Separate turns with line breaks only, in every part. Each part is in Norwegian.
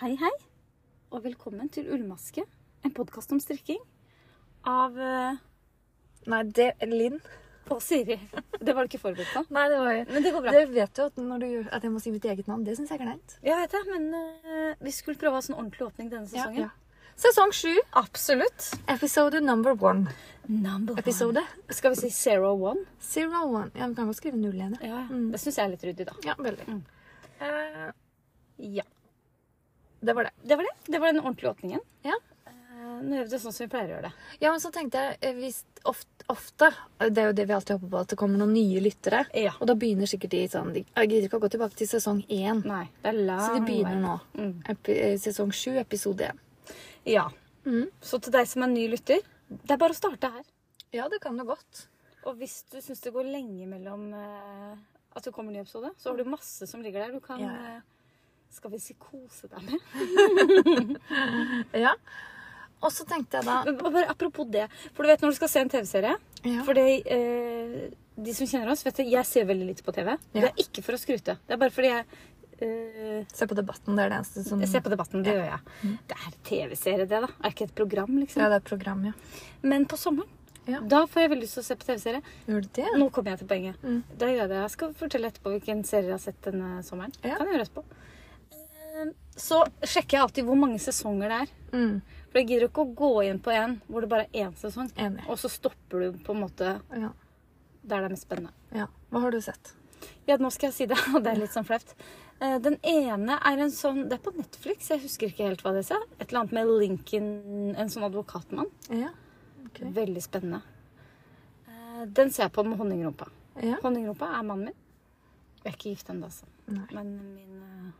Hei, hei, og velkommen til Ullmaske, en podkast om strikking av eh,
Nei, det Linn.
og Siri. Det var du ikke forberedt på.
Nei, det var jo
Men det går bra.
Dere vet jo at, når du, at jeg må si mitt eget navn. Det syns jeg er kleint.
Jeg vet det, men eh, vi skulle prøve å ha sånn ordentlig åpning denne sesongen.
Sesong sju,
Absolutt.
episode number one.
Number one.
Episode
Skal vi si zero one?
zero one. Ja, vi kan godt skrive null igjen, ja.
Ja,
Mm.
Det syns jeg er litt ryddig, da.
Ja, veldig.
Mm.
Eh,
Ja.
det var det.
Det var det. Det var den ordentlige åpningen.
Ja.
Eh, Nå gjør vi det sånn som vi pleier å gjøre det.
Ja, men så tenkte jeg eh, hvis ofte, ofte eh, Det er jo det vi alltid håper på, at det kommer noen nye lyttere.
Ja.
Og da begynner sikkert de sånn De jeg gidder ikke å gå tilbake til sesong én.
Nei, det er lang
Så de begynner
vei.
nå.
Mm.
Epi, eh, sesong sju, episode én.
Ja.
Mm.
Så til deg som er ny lytter, det er bare å starte her.
Ja, det kan jo godt.
Og hvis du syns det går lenge mellom eh, at det kommer en ny episode, så har du masse som ligger der. Du kan
Ja.
eh, Skal vi si kose deg med?
Ja. Og så tenkte jeg da
Men bare apropos det. For du vet når du skal se en TV-serie
ja.
For det, eh, de som kjenner oss, vet det, jeg ser veldig lite på TV. Det er ikke for å skryte. Det er bare fordi jeg eh,
Se på Debatten, det er det eneste som
jeg ser på Debatten. Det gjør jeg. Det er TV-serie, det, da. Er ikke et program, liksom.
Mm. Ja, det er et program, ja.
Men på sommeren,
Ja.
da får jeg veldig lyst til å se på TV-serie.
Gjør det det?
Nå kommer jeg til poenget.
Mm.
Da gjør jeg det. Jeg skal fortelle etterpå hvilken serie jeg har sett denne sommeren.
Ja.
Kan jeg gjøre etterpå. Eh, Så sjekker jeg alltid hvor mange sesonger det er.
Mm.
For jeg gidder ikke å gå inn på en hvor det bare er én sesong.
Enig.
Og så stopper du på en måte
Ja.
der det er mest spennende.
ja. Hva har du sett?
Ja, nå skal jeg si det, og det er litt sånn flaut. Eh, Den ene er en sånn Det er på Netflix, jeg husker ikke helt hva det er. Et eller annet med Lincoln, en sånn advokatmann.
Ja. Ok.
Veldig spennende. Eh, Den ser jeg på med honningrumpa.
Ja.
Honningrumpa er mannen min. Jeg er ikke gift ennå, altså.
Nei.
Men min eh,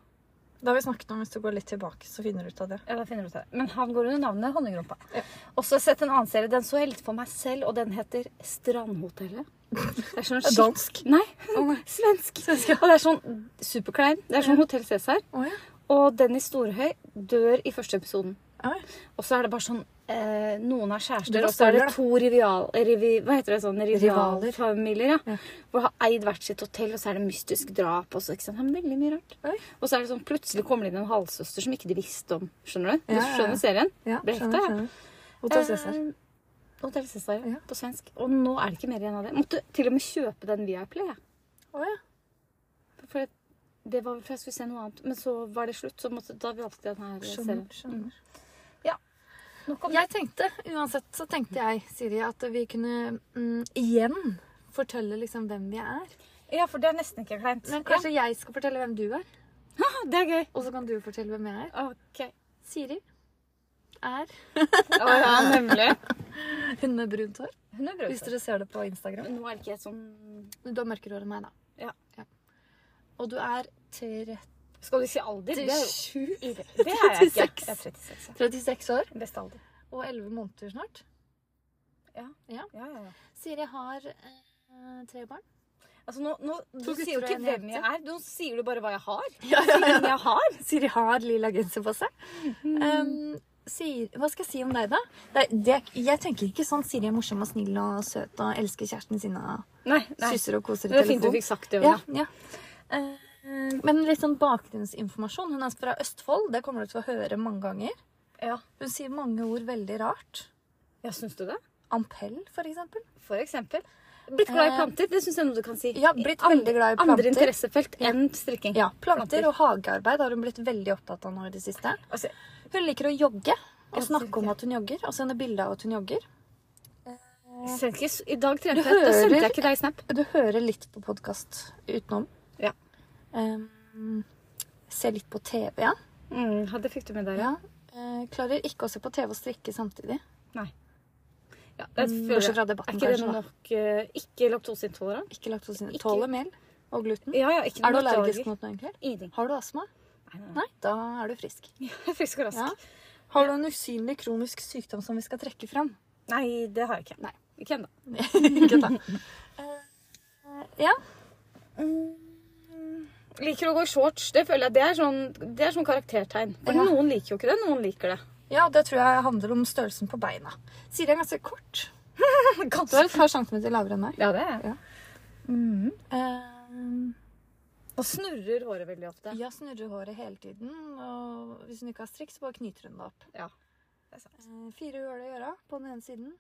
Da har vi snakket om hvis du går litt tilbake, så finner du ut av det.
Ja, da finner du ut av det. Men han går under navnet Honningrumpa.
Ja.
Og så har jeg sett en annen serie. Den så jeg litt for meg selv, og den heter Strandhotellet. Det er sånn skikkelig-
Dansk.
Nei,
Å nei.
svensk. Og det er sånn superklein. Det er sånn Hotell Cæsar.
Å ja.
Og Dennis Storhøy dør i første episoden.
Oi.
Og så er det bare sånn eh, Noen har
Det
kjærester,
var
og så er det
spoiler, da.
to rival, rivi, hva heter det, sånn,
Rivaler.
rivalfamilier. Ja.
Ja.
Hvor de har eid hvert sitt hotell, og så er det mystisk drap. Og så, ikke sant? Det er veldig mye rart.
Oi.
Og så er det sånn, plutselig kommer det inn en halvsøster som ikke de visste om. Skjønner du? Du
Ja, ja, ja.
skjønner serien?
Ja,
Ble
skjønner,
ekte, ja.
skjønner. Hotell Cæsar.
Eh, Hotell Cæsar, ja.
Ja.
På svensk. Og nå er det ikke mer igjen av det. Måtte til og med kjøpe den via Play. jeg.
Å ja.
For jeg- det var vel for jeg skulle se noe annet. Men så var det slutt, så måtte, da valgte jeg Mm. den her
Skjønner,
serien.
skjønner.
Nok om det.
Jeg tenkte, uansett så tenkte jeg, Siri, at vi kunne mm, igjen fortelle liksom hvem vi er.
Ja, for det er nesten ikke kleint.
Men kanskje jeg skal fortelle hvem du er,
ja, det er gøy.
og så kan du fortelle hvem jeg er.
Ok.
Siri er
Å ja, nemlig.
hun med brunt hår.
Hun er
Hvis dere ser det på Instagram.
Nå er det ikke jeg sånn
Du har mørkere hår enn meg, da.
Ja.
Og du er 30,
Skal du si alder? Det er jo
37
irre. Det er jeg ikke. Jeg er 36. ja.
36 år
Beste alder.
og 11 måneder snart.
Ja.
Ja.
Ja, ja, ja.
Siri har eh, tre barn.
Altså, nå, nå, du
To gutter
sier jo
og
ikke
en
hvem jeg
jente.
er, nå sier du bare hva jeg har.
Ja,
Sier hvem jeg har.
Siri har lilla genser på seg. Um, Siri, hva skal jeg si om deg, da? Det, er- det, er- jeg tenker ikke sånn Siri er morsom og snill og søt og elsker kjæresten sin og
Nei, nei.
kysser og koser i
Det var fint du
telefonen.
fikk sagt det.
Ja,
Jonna.
ja. Men litt sånn bakgrunnsinformasjon. Hun er fra Østfold. Det kommer du til å høre mange ganger.
Ja.
Hun sier mange ord veldig rart.
ja, syns du det?
Ampell, for eksempel.
For eksempel. Blitt glad i planter, det syns jeg noe du kan si.
Eh, Ja, blitt
Andre-
veldig glad i
Andre
planter.
interessefelt enn strikking.
Ja,
Planter.
Planter og hagearbeid har hun blitt veldig opptatt av nå i det siste.
Altså,
Hun liker å jogge og
Ja,
snakke om
jogge.
at hun jogger, og sende bilde av at hun jogger.
sendte ikke s- I dag trente
Du
jeg, da sendte
hører-
jeg ikke deg snap.
Du hører litt på podkast utenom.
Ja.
Um, ser litt på TV, ja.
Mm, ja, det fikk du med deg.
ja. Eh, klarer ikke å se på TV og strikke samtidig.
Ja, jeg
Mm,
føler-
bortsett fra debatten,
Er ikke det
kanskje, da.
nok eh, Ikke laktoseintolerant?
Ikke laktosine.
Ikke-
Tåler mel og gluten.
Mm. Ja, ja, ikke
Er du
noe
allergisk
laktose.
mot noe, egentlig?
Ingenting.
Har du astma?
Nei, nei, nei.
Nei, da er du frisk.
Jeg er frisk og rask.
Ja. Har du en usynlig kronisk sykdom som vi skal trekke fram?
Nei, det har jeg ikke.
Nei.
Ikke ennå.
ikke da. Eh, ja.
Liker å gå i shorts. Det føler jeg, det er sånn, det er sånn karaktertegn. For
Ja.
noen liker jo ikke det, noen liker det.
ja, det tror jeg handler om størrelsen på beina. Siri er ganske kort. Du
Kanskje.
er et par centimeter lavere enn meg.
Ja, det er Mm. jeg.
Ja. Eh,
Og snurrer håret veldig ofte.
Ja, snurrer håret hele tiden og hvis hun ikke har strikk, så bare knyter hun det opp.
Ja. Det er sant.
Eh, Fire hull i øra på den ene siden.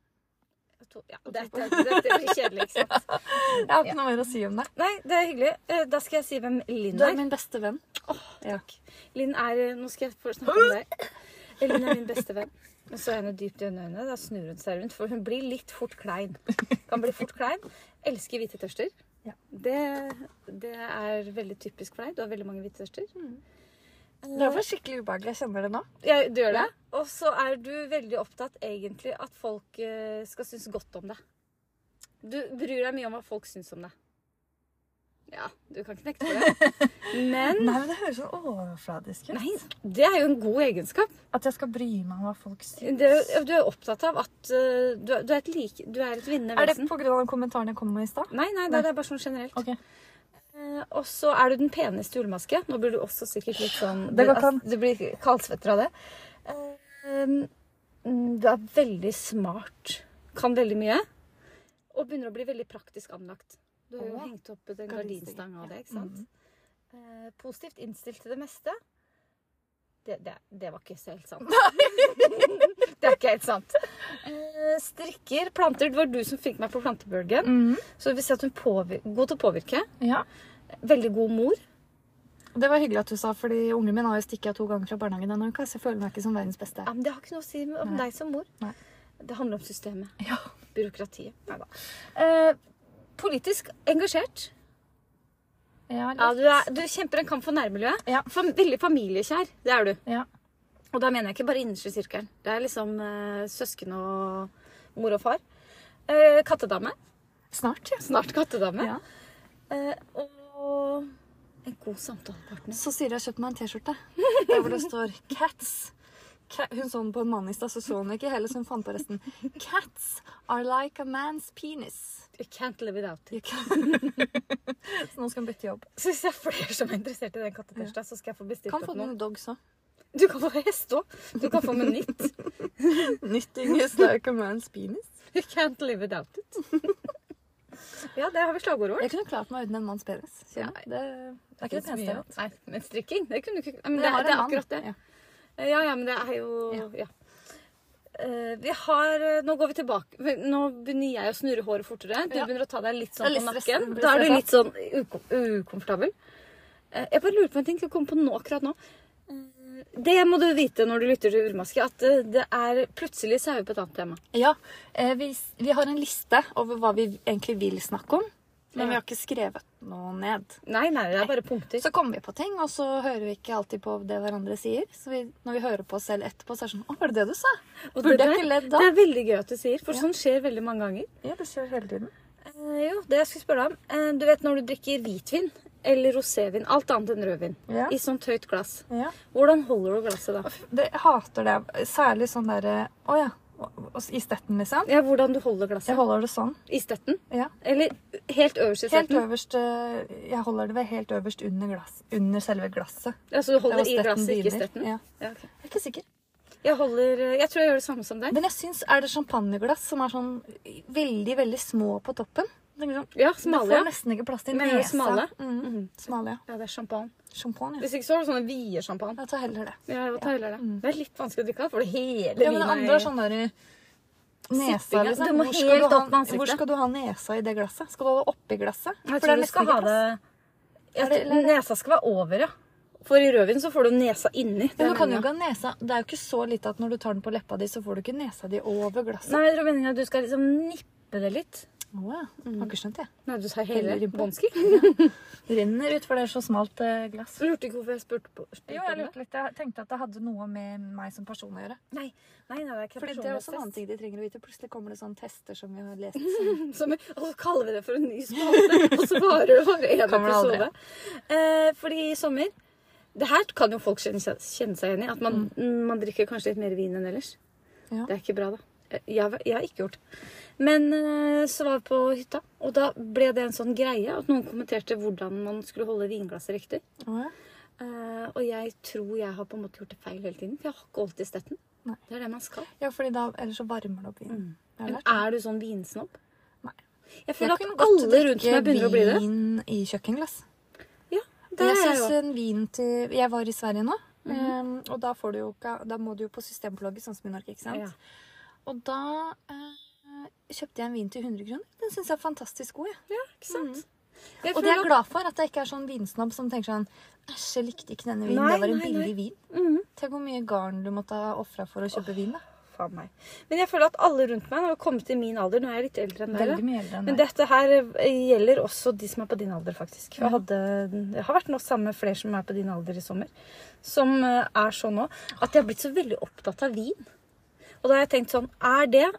To, ja, dette, dette blir kjedelig, ikke sant?
Jeg har ikke noe mer å si om det.
Nei, det er hyggelig. Eh, Da skal jeg si hvem Linn
Du er
er.
min beste venn. Ja.
Takk. Linn er eh, Nå skal jeg få snakke om deg. Eh, Linn er min beste venn. Men så henne dypt i øynene. Da snur hun seg rundt, for hun blir litt fort klein. Kan bli fort klein. Elsker hvite tørster.
Ja.
Det, det er veldig typisk for deg. Du har veldig mange hvite tørster. Eh,
Det var skikkelig ubehagelig. Jeg kjenner det nå.
Ja, du gjør det? Og så er du veldig opptatt egentlig at folk eh, skal synes godt om deg. Du bryr deg mye om hva folk syns om deg. Ja, du kan ikke nekte for det. Men
Nei, men Det høres så overfladisk ut.
Nei, det er jo en god egenskap.
At jeg skal bry meg om hva folk syns.
Det, du er opptatt av at eh, du, er- du er et like, du er et vinnende
Er det
vesen.
pga. den kommentaren jeg kom med i stad?
Nei, nei, det, det er bare sånn generelt.
Ok.
Eh, og så er du den peneste julemaske. Nå blir du også sikkert litt sånn
Det går ikke an.
at Du blir kaldsvetter av det. Eh, mm, du er veldig smart. Kan veldig mye. Og begynner å bli veldig praktisk anlagt. Du har jo
Åh.
hengt opp en
Gardinstang,
gardinstang av
ja. Mhm.
det, ikke sant? Eh, positivt innstilt til det meste. Det, det, det var ikke så helt sant. det er ikke helt sant. Eh, strikker, planter. Det var du som fikk meg på plantebølgen.
Mm.
Så det vil si at hun er god til å påvirke.
Ja.
Veldig god mor.
Det var hyggelig at du sa, fordi ungen min har jo stikket av to ganger fra barnehagen denne uka, så jeg føler meg ikke som verdens beste.
Ja, men det har ikke noe å si om deg som mor.
Nei.
Det handler om systemet.
Ja.
Byråkratiet. Neida. Eh, politisk engasjert.
Ja,
Ja,
litt.
du, er, du kjemper en kamp for nærmiljøet.
Ja.
Fam- veldig familiekjær. Det er du.
Ja.
Og da mener jeg ikke bare innerste sirkelen. Det er liksom eh, søsken og mor og far. Eh, kattedame.
Snart, ja.
Snart kattedame.
Ja.
Eh, og en god samtalepartner.
Så Siri har kjøpt meg en T-skjorte. Der hvor det står 'Cats'. Ca- Hun så den på en mann i stad, så så hun den ikke heller, så hun fant på resten. 'Cats are like a man's penis'.
You can't live without it.
You can- så nå skal hun bytte jobb.
Så hvis det er flere som er interessert i den kattetørsta, så skal jeg få bestilt
Kan
opp
få
noen.
noen dogs òg.
Du kan få hest òg. Du kan få med nytt.
Nytting is like a man's penis.
You can't live without it. ja, der har vi slagordet vårt.
Jeg kunne klart meg uten en manns penis. kjenner jeg. Det, det er ikke det peneste jeg vet.
Nei, men strikking, det kunne du ikke men
Men
det,
jeg har
er- det
en
er
mann.
akkurat det.
Ja.
Ja, ja, men det er jo Ja. Eh, vi har eh, Nå går vi tilbake. Nå begynner jeg å snurre håret fortere. Du
Ja.
begynner å ta deg litt
Det
sånn
er
på
litt stressende,
nakken.
blir
Da er du
stressa.
litt sånn uko- ukomfortabel. Eh, jeg bare lurer på en ting som jeg kom på nå, akkurat nå.
Mm.
Eh, det må du vite når du lytter til Urmaske, at eh, det er plutselig så er vi på et annet tema.
Ja, eh, vi, s- vi har en liste over hva vi egentlig vil snakke om, men vi har ikke skrevet noe ned.
Nei, nei, det er bare punkter.
Så kommer vi på ting, og så hører vi ikke alltid på det hverandre sier. Så vi, når vi hører på oss selv etterpå, så er det sånn Å, var det det du sa?
Og
Burde
det,
jeg ikke
der,
ledd da?
det er veldig gøy at du sier, for sånn skjer veldig mange ganger.
Ja, det skjer hele tiden.
Eh, jo, det jeg skulle spørre deg om. Eh, du vet når du drikker hvitvin eller rosévin, alt annet enn rødvin,
Ja.
i sånt høyt glass.
Ja.
Hvordan holder du glasset da?
Det, jeg hater det. Særlig sånn derre Å ja. og- og- I stetten, liksom.
Ja, hvordan du holder
Jeg
glasset.
holder det sånn.
I stetten?
Ja.
Eller helt øverst i
Helt
stetten?
øverst eh, Jeg holder det ved helt øverst under, glass, under selve glasset.
Altså du
Der hvor
holder i
stetten
glasset, ikke i
begynner.
stetten?
Ja.
Ja, ok.
Jeg er ikke sikker.
Jeg holder eh, Jeg tror jeg gjør det samme som deg.
Men jeg syns er det champagneglass som er sånn veldig, veldig små på toppen. Det er Liksom,
Ja,
Det
smale.
får
ja.
nesten ikke plass til
Mener du
nesa.
smale?
Mm. Smale, ja.
Ja, det er champagne.
Champagne, ja.
Mhm. Hvis ikke så har du sånne vide champagne.
Jeg tar heller det.
Ja, hva tar heller det? Det er litt vanskelig å drikke av, for det hele
Ja, men det
vinen
andre er sånn der Nesa,
Sippinga.
liksom.
Du må
Hvor skal
helt
ha-
opp med ansiktet.
Hvor skal du ha nesa i det glasset? Skal du ha det oppi glasset?
Jeg
For
tror
er
vi
nesten
skal
ikke
ha det
plass.
Jeg
Er det-
tror Nesa skal være over, ja. For i rødvin så får du nesa inni. Det
Men
er
du kan jo
meningen.
ikke ha nesa Det er jo ikke så lite at når du tar den på leppa di, så får du ikke nesa di over glasset.
Nei, jeg tror meningen er at du skal liksom nippe det litt.
Å ja.
Mm.
Har ikke skjønt det.
Nei, du tar
Hele
hele
ribba.
bånski.
Renner ut, for det er så smalt eh, glass.
Lurte ikke hvorfor jeg spurte på spurte
Jo,
om
jeg
det.
lurte litt. Jeg tenkte at det hadde noe med meg som person å gjøre.
Nei, nei, nei, det er ikke
Fordi det er også en annen ting de trenger å vite. Plutselig kommer det sånne tester som vi har lest. Som
Som, og så kaller vi det for en ny spalte, og så varer det bare én
Kommer det aldri.
episode. Eh, fordi i sommer Det her kan jo folk kjenne, seg- kjenne seg igjen i. At man, man drikker kanskje litt mer vin enn ellers.
Mm. Ja.
Det er ikke bra, da. Eh, Jeg, jeg, jeg har ikke gjort det. Men eh, så var vi på hytta, og da ble det en sånn greie at noen kommenterte hvordan man skulle holde vinglasset riktig.
Å ja.
Eh, og jeg tror jeg har på en måte gjort det feil hele tiden, for jeg har ikke holdt i stetten.
Nei.
Det er det man skal.
ja, fordi da Ellers så varmer det opp vinen.
Mm.
Jeg har
Men
lært det.
er du sånn vinsnobb?
Nei.
Jeg
Jeg
føler
kunne
at
godt
alle rundt
drikke
meg begynner å bli det.
Vin i kjøkkenglass.
Ja, det
Jeg
er jeg
synes
jo. Mhm.
en vin til Jeg var i Sverige nå, Um, og da, får du jo ikke, da må du jo på systempålogget, sånn som i Norge. ikke sant?
Ja.
Og da eh, kjøpte jeg en vin til 100 kroner. Den syns jeg er fantastisk god. jeg.
Ja, ikke sant? Jeg
Og det er jeg
føler
glad for, at jeg ikke er sånn vinsnobb som tenker sånn Æsj, jeg likte ikke denne vinen.
Nei,
det var en
nei, nei.
billig vin.
at- Mhm.
Tenk hvor mye garn du måtte ha ofra for å kjøpe vin. da.
Faen meg. Men jeg føler at alle rundt meg, når det kommer til min alder, nå er jeg litt eldre enn dere
Veldig mye eldre enn
Men
deg.
dette her eh, gjelder også de som er på din alder, faktisk. Jeg,
Ja.
hadde, jeg har vært nå sammen med flere som er på din alder i sommer, som eh, er sånn nå, at jeg har blitt så veldig opptatt av vin. Og da har jeg tenkt sånn Er det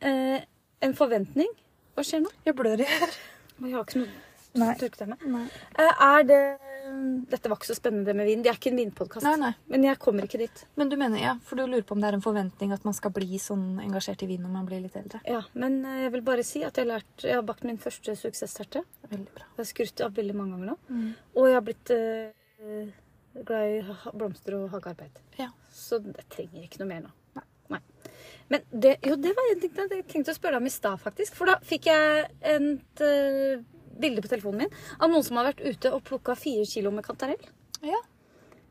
eh, en forventning? Hva skjer nå?
Jeg blør i øret.
Oi, Jeg har ikke noe
Nei.
tørket av meg.
Nei.
Eh, er det mm, Dette var ikke så spennende med vin. Det er ikke en
nei,
vinpodkast.
nei.
Men jeg kommer ikke dit.
Men du mener, ja, for du lurer på om det er en forventning at man skal bli sånn engasjert i vin når man blir litt eldre.
Ja, Men eh, jeg vil bare si at jeg har, lært, jeg har bakt min første suksessterte.
Veldig bra.
Jeg har skrutt av veldig mange ganger nå. Og jeg har blitt eh, glad i ha- blomster og hagearbeid.
Ja.
Så jeg trenger ikke noe mer nå. Nei. Men det, jo, det var en ting jeg tenkte- tenkte å spørre deg om i stad, faktisk. For da fikk jeg et eh, bilde på telefonen min av noen som har vært ute og plukka fire kilo med kantarell.
Ja.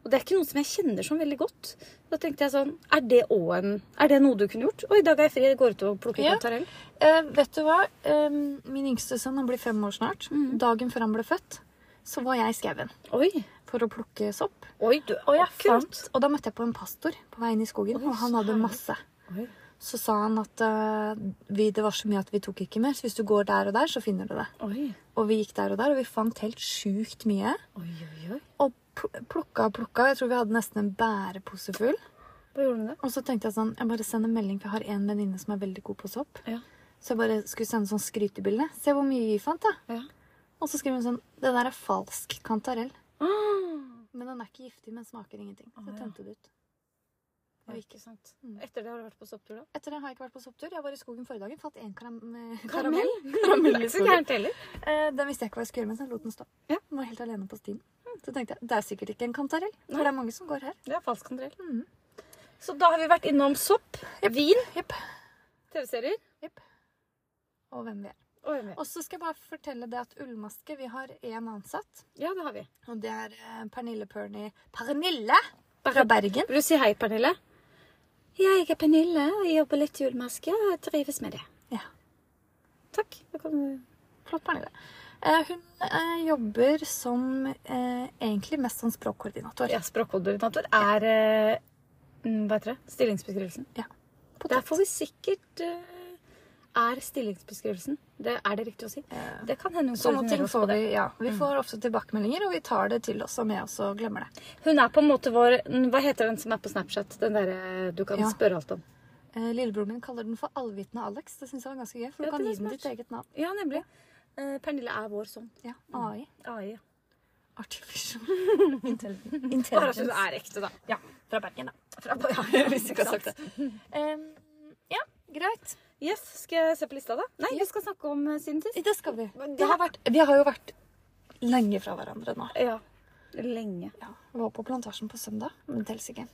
Og det er ikke noen som jeg kjenner sånn veldig godt. Da tenkte jeg sånn Er det òg en Er det noe du kunne gjort? Og i dag er jeg fri, jeg går ut og plukker
Ja.
kantarell.
Eh, vet du hva? Eh, min yngste sønn han blir fem år snart. Dagen før han ble født, så var jeg i skauen
Oi.
for å plukke sopp.
Oi, du.
Og jeg
akkurat.
fant, og da møtte jeg på en pastor på veien i skogen,
Oi,
og han hadde
herlig.
masse.
Oi.
Så sa han at eh, vi, det var så mye at vi tok ikke mer, så hvis du går der og der, så finner du det.
Oi.
Og vi gikk der og der, og vi fant helt sjukt mye.
Oi, oi, oi.
Og pl- plukka og plukka. Jeg tror vi hadde nesten en bærepose full.
Hva gjorde du da?
Og så tenkte jeg sånn, jeg bare sender en melding, for jeg har en venninne som er veldig god på sopp.
Ja.
Så jeg bare skulle sende sånn skrytebilde. Se hvor mye vi fant, da.
Ja.
Og så skriver hun sånn, det der er falsk kantarell.
Ah.
Men den er ikke giftig, men smaker ingenting. Så
Å, ja.
tømte det ut.
Ja,
Og gikk.
ikke sant.
Mm.
Etter det har du vært på sopptur, da?
Etter det har jeg ikke vært på sopptur. Jeg var i skogen forrige dagen, fant én karam eh,
Karamell?
karamell.
Karamell i skogen.
Eh, den visste jeg ikke hva jeg skulle gjøre med, så jeg lot den stå.
Ja.
Den var helt alene på stien. Så tenkte jeg, det er sikkert ikke en kantarell, for
Nei.
det er mange som går her.
Det er falsk kantarell.
Mhm.
Mm. Så da har vi vært innom sopp, vin,
Jepp.
TV-serier
Jepp. Og hvem vi er.
og øl.
Og så skal jeg bare fortelle det at Ullmaske, vi har én ansatt.
Ja, det har vi.
Og det er eh, Pernille Perny Pernille fra Bergen.
Vil du si hei, Pernille? Ja, jeg er Pernille, og jeg jobber litt i Ullmaske. og Jeg trives med det.
Ja.
Takk. Da kan du
Flott, Pernille. Eh, hun eh, jobber som eh, egentlig mest som språkkoordinator.
Ja, språkkoordinator er eh, mm, Hva heter det? Stillingsbeskrivelsen. Der får vi sikkert eh, Er stillingsbeskrivelsen. Det er det riktig å si?
Eh,
Det kan hende hun
Sånne ting
koordinerer oss på
får
det. Mm.
vi, ja. Vi får ofte tilbakemeldinger, og vi tar det til oss og med oss og glemmer det.
Hun er på en måte vår Hva heter den som er på Snapchat? Den derre du kan
Ja.
spørre alt om.
Eh, Lillebroren min kaller den for Allvitende Alex. Det syns jeg var ganske gøy, for
Ja,
du kan
det er
gi den
smart.
ditt eget navn.
Ja, nemlig. Eh, Pernille er vår sånn.
Ja, AI.
AI. ja.
Artificial
Bare at hun
Intelligence.
er ekte, da.
Ja, fra Bergen, da.
Fra-
Ja, jeg visste ikke jeg hadde sagt det. Eh, ja, greit.
Yes, Skal jeg se på lista, da? Nei, vi skal snakke om eh, siden sist.
Det skal vi.
Men det-
Det har vært, vi har jo vært lenge fra hverandre nå.
Ja. Lenge.
Ja, vi var på plantasjen på søndag, men det teller ikke.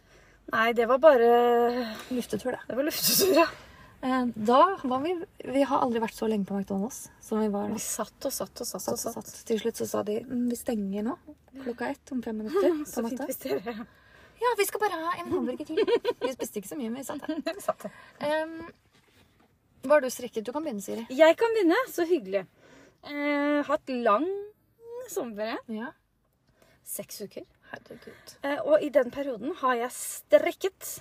Nei, det var bare
Luftetur, det.
Det var luftetur, ja.
Eh, Da var vi Vi har aldri vært så lenge på McDonald's som vi var da.
Vi satt og satt og satt og
satt,
satt.
satt. Til slutt så sa de mm, vi stenger nå klokka ett om fem minutter. på
Så fint
natta.
hvis dere
Ja, vi skal bare ha en hamburger til. Vi spiste ikke så mye, men vi satt her.
Vi satt der.
Em, hva har du strekket? Du kan begynne, Siri.
Jeg kan begynne. Så hyggelig. Eh, hatt lang sommerferie.
Ja.
Seks uker.
Herregud.
Eh, og i den perioden har jeg strekket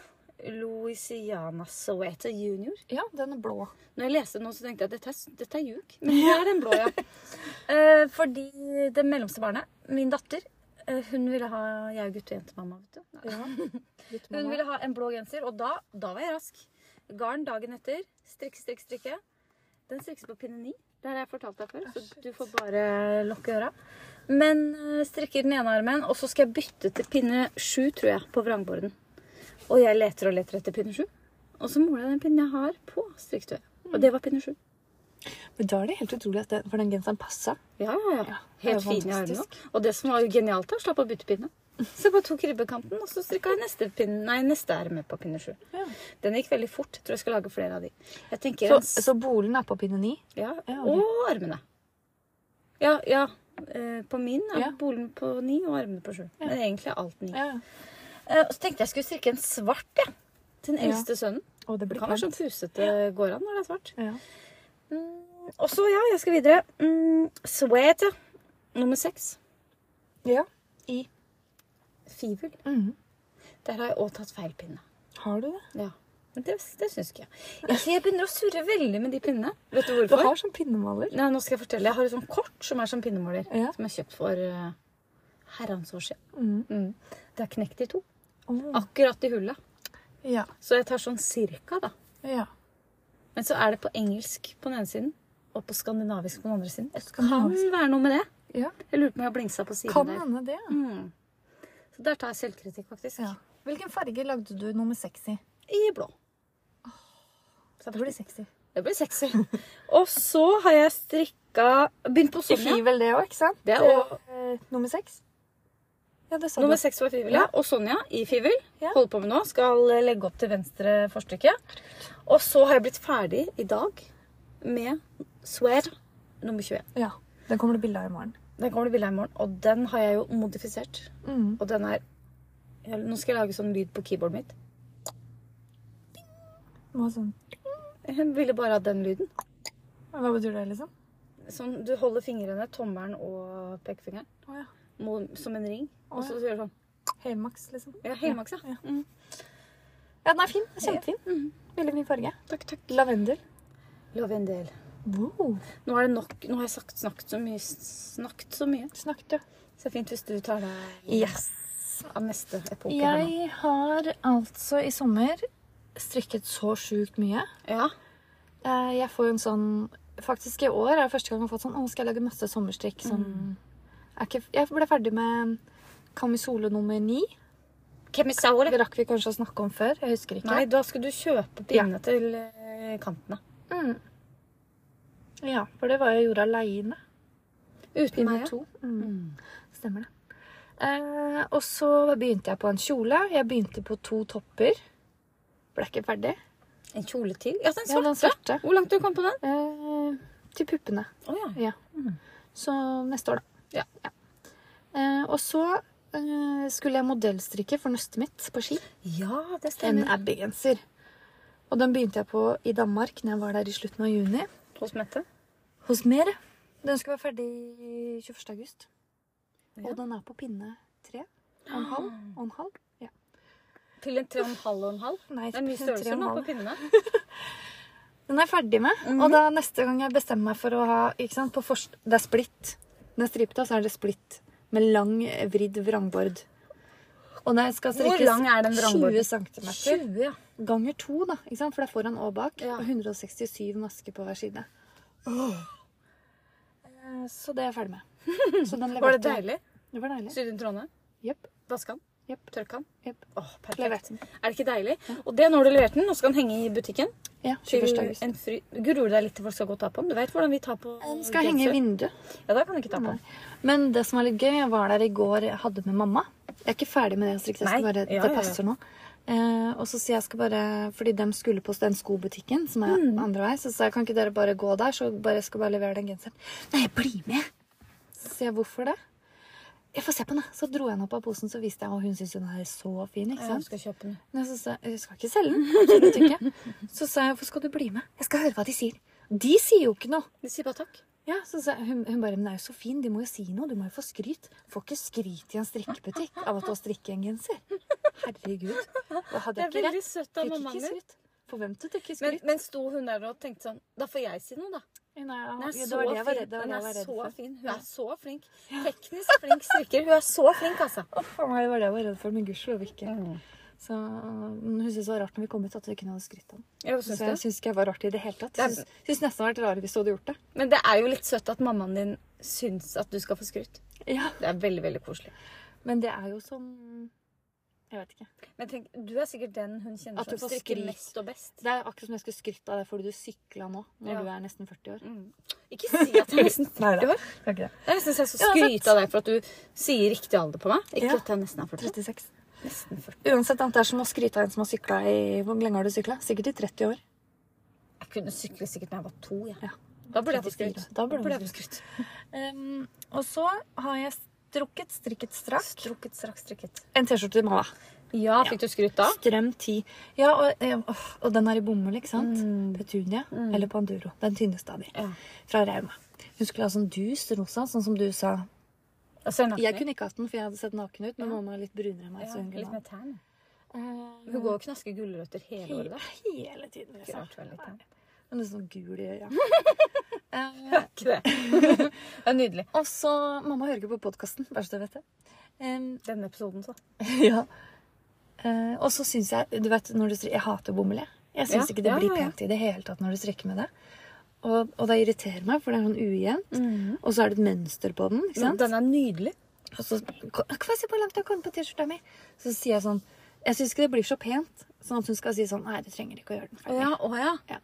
Louisiana Soweto Junior.
Ja, den er blå.
Når jeg leste den nå, så tenkte jeg at dette er, dette er ljug. Men det er den blå, ja. Eh, fordi det mellomste barnet, min datter, eh, hun ville ha Jeg er jo gutt- og jentemamma, vet du. Hun ville ha en blå genser, og da, da var jeg rask. Garn dagen etter. Strikke, strikke, strikke. Den strikkes på pinne ni. Det har jeg fortalt deg før, så du får bare lukke øra. Men eh, strikker den ene armen, og så skal jeg bytte til pinne sju, tror jeg, på vrangborden. Og jeg leter og leter etter pinne sju. Og så måler jeg den pinnen jeg har på strikketøyet. Og det var pinne sju.
Men da er det helt utrolig at den, for den genseren passa.
Ja, ja, ja.
Ja, det er
Helt
jo
fin i armene.
fantastisk.
Og det som var jo genialt, da, slapp å bytte pinne. Så jeg bare tok ribbekanten, og så strikka jeg neste, pinne, nei, neste erme på pinne sju.
Ja.
Den gikk veldig fort. Jeg tror jeg skal lage flere av de. Jeg tenker
Så,
en s-
så bolen er på pinne ni.
ja,
Ja, ok.
Og armene. Ja, ja. eh, På min er
Ja.
bolen på ni og armene på sju. Men egentlig er alt ni.
Ja.
Eh, Og så tenkte jeg jeg skulle strikke en svart, jeg. Til den
Ja.
eldste sønnen.
Og
Det
det blir
kan være sånn pusete går an når det er svart.
Ja.
Mm, og så, ja, jeg skal videre. Mm, Sweat, nummer seks.
ja. I.
Fivel.
Mhm.
Der har jeg òg tatt feil pinne.
Har du det?
Ja. Men det, det syns ikke jeg. Jeg- Jeg begynner å surre veldig med de pinnene. Vet du
Du
hvorfor?
har sånn pinnemaler.
Nei, nå skal jeg fortelle. Jeg har et sånt kort som er som pinnemåler.
Ja.
Som jeg kjøpt for eh, herrens år siden.
Mhm.
Det er knekt i to.
Åh.
Akkurat i hullet.
Ja.
Så jeg tar sånn cirka, da.
ja.
Men så er det på engelsk på den ene siden, og på skandinavisk på den andre siden. Det kan
Skandinavisk.
være noe med det.
ja.
Jeg lurer på om jeg har blingsa på siden
Kan
der.
hende det. altså.
Mm. Så der tar jeg selvkritikk, faktisk.
Ja. Hvilken farge lagde du nummer seks i?
I blå. Så
Det blir sexy.
Det blir sexy. og så har jeg strikka Begynt på
I
Sonja.
fivel, det òg, ikke sant?
Det er også-
Eh, nummer seks. Ja, det sa
Nummer
du.
seks var fivel, ja. Og Sonja i fivel.
Ja.
Holder på med nå. Skal eh, legge opp til venstre forstykke. Og så har jeg blitt ferdig i dag med Swear nummer 21.
Ja. Den kommer det bilde av i morgen.
Den kommer det bilde av i morgen, og den har jeg jo modifisert.
Mhm.
Og den er ja, Nå skal jeg lage sånn lyd på keyboardet mitt.
Hva, sånn.
Jeg ville bare ha den lyden.
Hva betyr det, liksom?
Sånn, Du holder fingrene, tommelen og pekefingeren,
Å ja.
mo- som en ring.
Å,
Og så gjør du sånn.
Helmaks, liksom.
Ja, helmaks, ja.
Ja.
Mm.
Ja, Mhm. den er fin. Kjempefin. Veldig fin farge.
Takk, takk.
Lavendel.
Lavendel.
Wow.
Nå er det nok, nå har jeg sagt, snakket så mye. Snakket så mye.
Snakket, du.
Så det er fint hvis du tar deg
Yes.
av neste epoke. her nå.
Jeg har altså i sommer strikket så sjukt mye.
Ja.
Eh, Jeg får jo en sånn Faktisk i år er det første gang jeg har fått sånn Å, skal jeg lage masse sommerstrikk? Sånn er ikke, Jeg ble ferdig med Camisole nummer ni.
Kemisauer.
Det rakk vi kanskje å snakke om før. Jeg husker ikke.
Nei, da skal du kjøpe pinne til eh, kantene.
Mm. Ja, for det var jeg gjorde aleine.
Uten
Pinne
meg, ja.
to. Mm. Stemmer det. Eh, og så begynte jeg på en kjole. Jeg begynte på to topper. Ble ikke ferdig.
En kjole til. Ja, den
Ja,
svarte.
den svarte.
Hvor langt du kom på den?
Eh, til puppene.
Å ja.
Ja. Så neste år, da.
Ja.
Eh, og så eh, skulle jeg modellstrikke for nøstet mitt på ski.
Ja, det
En
stemmer.
Abbey-genser. Og den begynte jeg på i Danmark når jeg var der i slutten av juni.
Hos Mette.
Hos Mer. Den skulle være ferdig 21. august.
Ja.
Og den er på pinne tre og en halv. Og en halv. Ja.
Til en tre og en halv og en halv.
Nei,
Det er mye
tre og en
størrelser nå
halv.
på pinnene.
Den er jeg ferdig med.
Mhm.
Og da neste gang jeg bestemmer meg for å ha ikke sant, på forst Det er splitt. Den er stripet, og så er det splitt. Med lang, vridd vrangbord. Og den skal
Hvor
strikkes
lang er den vrangborden?
20 cm.
20, ja.
Ganger to, da. Ikke sant? For det er foran og bak.
Ja.
Og 167 masker på hver side. Eh, Så det er jeg ferdig med. Så den
Var det
leverte-
deilig?
Det var deilig.
Studien Trondheim?
Jepp.
Vaska den?
Jepp.
Tørka den?
Jepp.
Åh, perfekt.
Levert den.
Er det ikke deilig? Og det er når du leverte den. Nå skal den henge i butikken.
Ja,
Til
21. august.
en fri... Gruer du deg litt til folk skal gå og ta på den? Du vet hvordan vi tar på
Den skal henge i
genser?
vinduet.
Ja, da kan du ikke ta på den.
Men det som er litt gøy, jeg var der i går, jeg hadde med mamma. Jeg er ikke ferdig med det strikketesten,
Nei.
bare
Ja, ja, ja.
det passer nå. Eh, og så sier jeg skal bare, fordi de skulle på den skobutikken som er
Mm.
andre vei, så sa jeg kan ikke dere bare gå der, så bare, jeg skal bare levere den genseren. Nei, bli med! Så sier jeg hvorfor det? Jeg får se på den, da. Så dro jeg den opp av posen, så viste jeg, og hun synes hun er så fin, ikke
Ja, du
sant?
skal kjøpe den.
Men så sa jeg, jeg skal ikke selge den, absolutt ikke. Så sa jeg, hvorfor skal du bli med? Jeg skal høre hva de sier. De sier jo ikke noe.
De sier bare takk.
Ja, så sa hun, hun bare, men det er jo så fin, de må jo si noe, du må jo få skryt. Får ikke skryt i en strikkebutikk av at du har strikket en genser. Herregud. Og
Det
hadde
er
jeg ikke
veldig
rett,
søtt av
fikk
mammaen
ikke
din.
skryt. Forventet ikke
Men,
skryt.
men sto hun der og tenkte sånn Da får jeg si noe, da.
Nei, ja,
Den er
ja,
så
det var det jeg var
fin.
redd, det var
Den
det jeg
er
var redd
så
for.
fin. Hun er så flink. Teknisk flink strikker. Hun er så flink, altså.
Å, faen meg, det var det jeg var redd for, men gudskjelov ikke.
Mm.
Så men hun synes det var rart når vi kom ut at vi kunne ha skrytt av den.
Jeg
Så
synes det.
jeg synes ikke jeg var rart i det hele tatt. Jeg
Det
synes, synes nesten det hadde vært rarere hvis du hadde gjort det.
Men det er jo litt søtt at mammaen din syns at du skal få skryt.
Ja,
Det er veldig, veldig koselig.
men det er jo sånn... Jeg vet ikke.
Men tenk, du er sikkert den hun kjenner
At du
som
får
strikker
skryt.
mest og best.
Det er akkurat som jeg skulle skrytte av deg fordi du syklet nå, når
Ja.
du er nesten 40 år.
Ikke si at jeg er nesten 40 år.
Kan ikke det.
Jeg syns jeg skal
Uansett.
skryte av deg for at du sier riktig alder på meg. Ikke
Ja.
at jeg nesten er 40.
36.
Nesten 40.
Uansett, da, det er som å skryte av en som har sykla i Hvor lenge har du sykla? Sikkert i 30 år.
Jeg kunne sykle sikkert da jeg var to. jeg.
Ja.
Da burde jeg få skryt.
34. Da burde du
jeg få skryt.
Um, og så har jeg strukket, strikket, strakk
Strukket, straks strikket.
en T-skjorte til mamma.
Ja, fikk du skryt da?
Strøm 10. Ja, og, eh, åh, og den er i bomull, ikke sant?
Mm.
Petunia eller Panduro. Den tynneste av de.
Ja.
Fra Rauma. Hun skulle ha sånn dus rosa, sånn som du sa.
Og så er hun
Jeg
naken.
kunne ikke hatt den, for jeg hadde sett naken ut, men mamma er litt brunere enn meg.
ja,
så hun kunne
litt
ha
mer tan.
den.
Hun går og knasker gulrøtter hele året. da.
He- Hele tiden,
Ikke
liksom.
rart hun er litt tan.
Hun er sånn gul i øya. Eh,
Ikke det. det er nydelig.
og så Mamma hører ikke på podkasten, bare så du vet det. Em,
Denne episoden, så.
ja. Eh, og så syns jeg Du vet, når du stri- Jeg hater bomull, jeg. Jeg syns
Ja,
ikke det
ja,
blir
ja, ja.
pent i det hele tatt når du strikker med det. Og, og det irriterer meg, for det er sånn ujevnt.
Mm.
Og så er det et mønster på den. ikke sant?
Den er nydelig.
Og så Hva si hvor langt jeg har kommet på T-skjorta mi? Så sier jeg sånn Jeg syns ikke det blir så pent. Sånn at hun skal si sånn Nei, du trenger ikke å gjøre den
Å
ferdig.
ja, å ja.
Ja.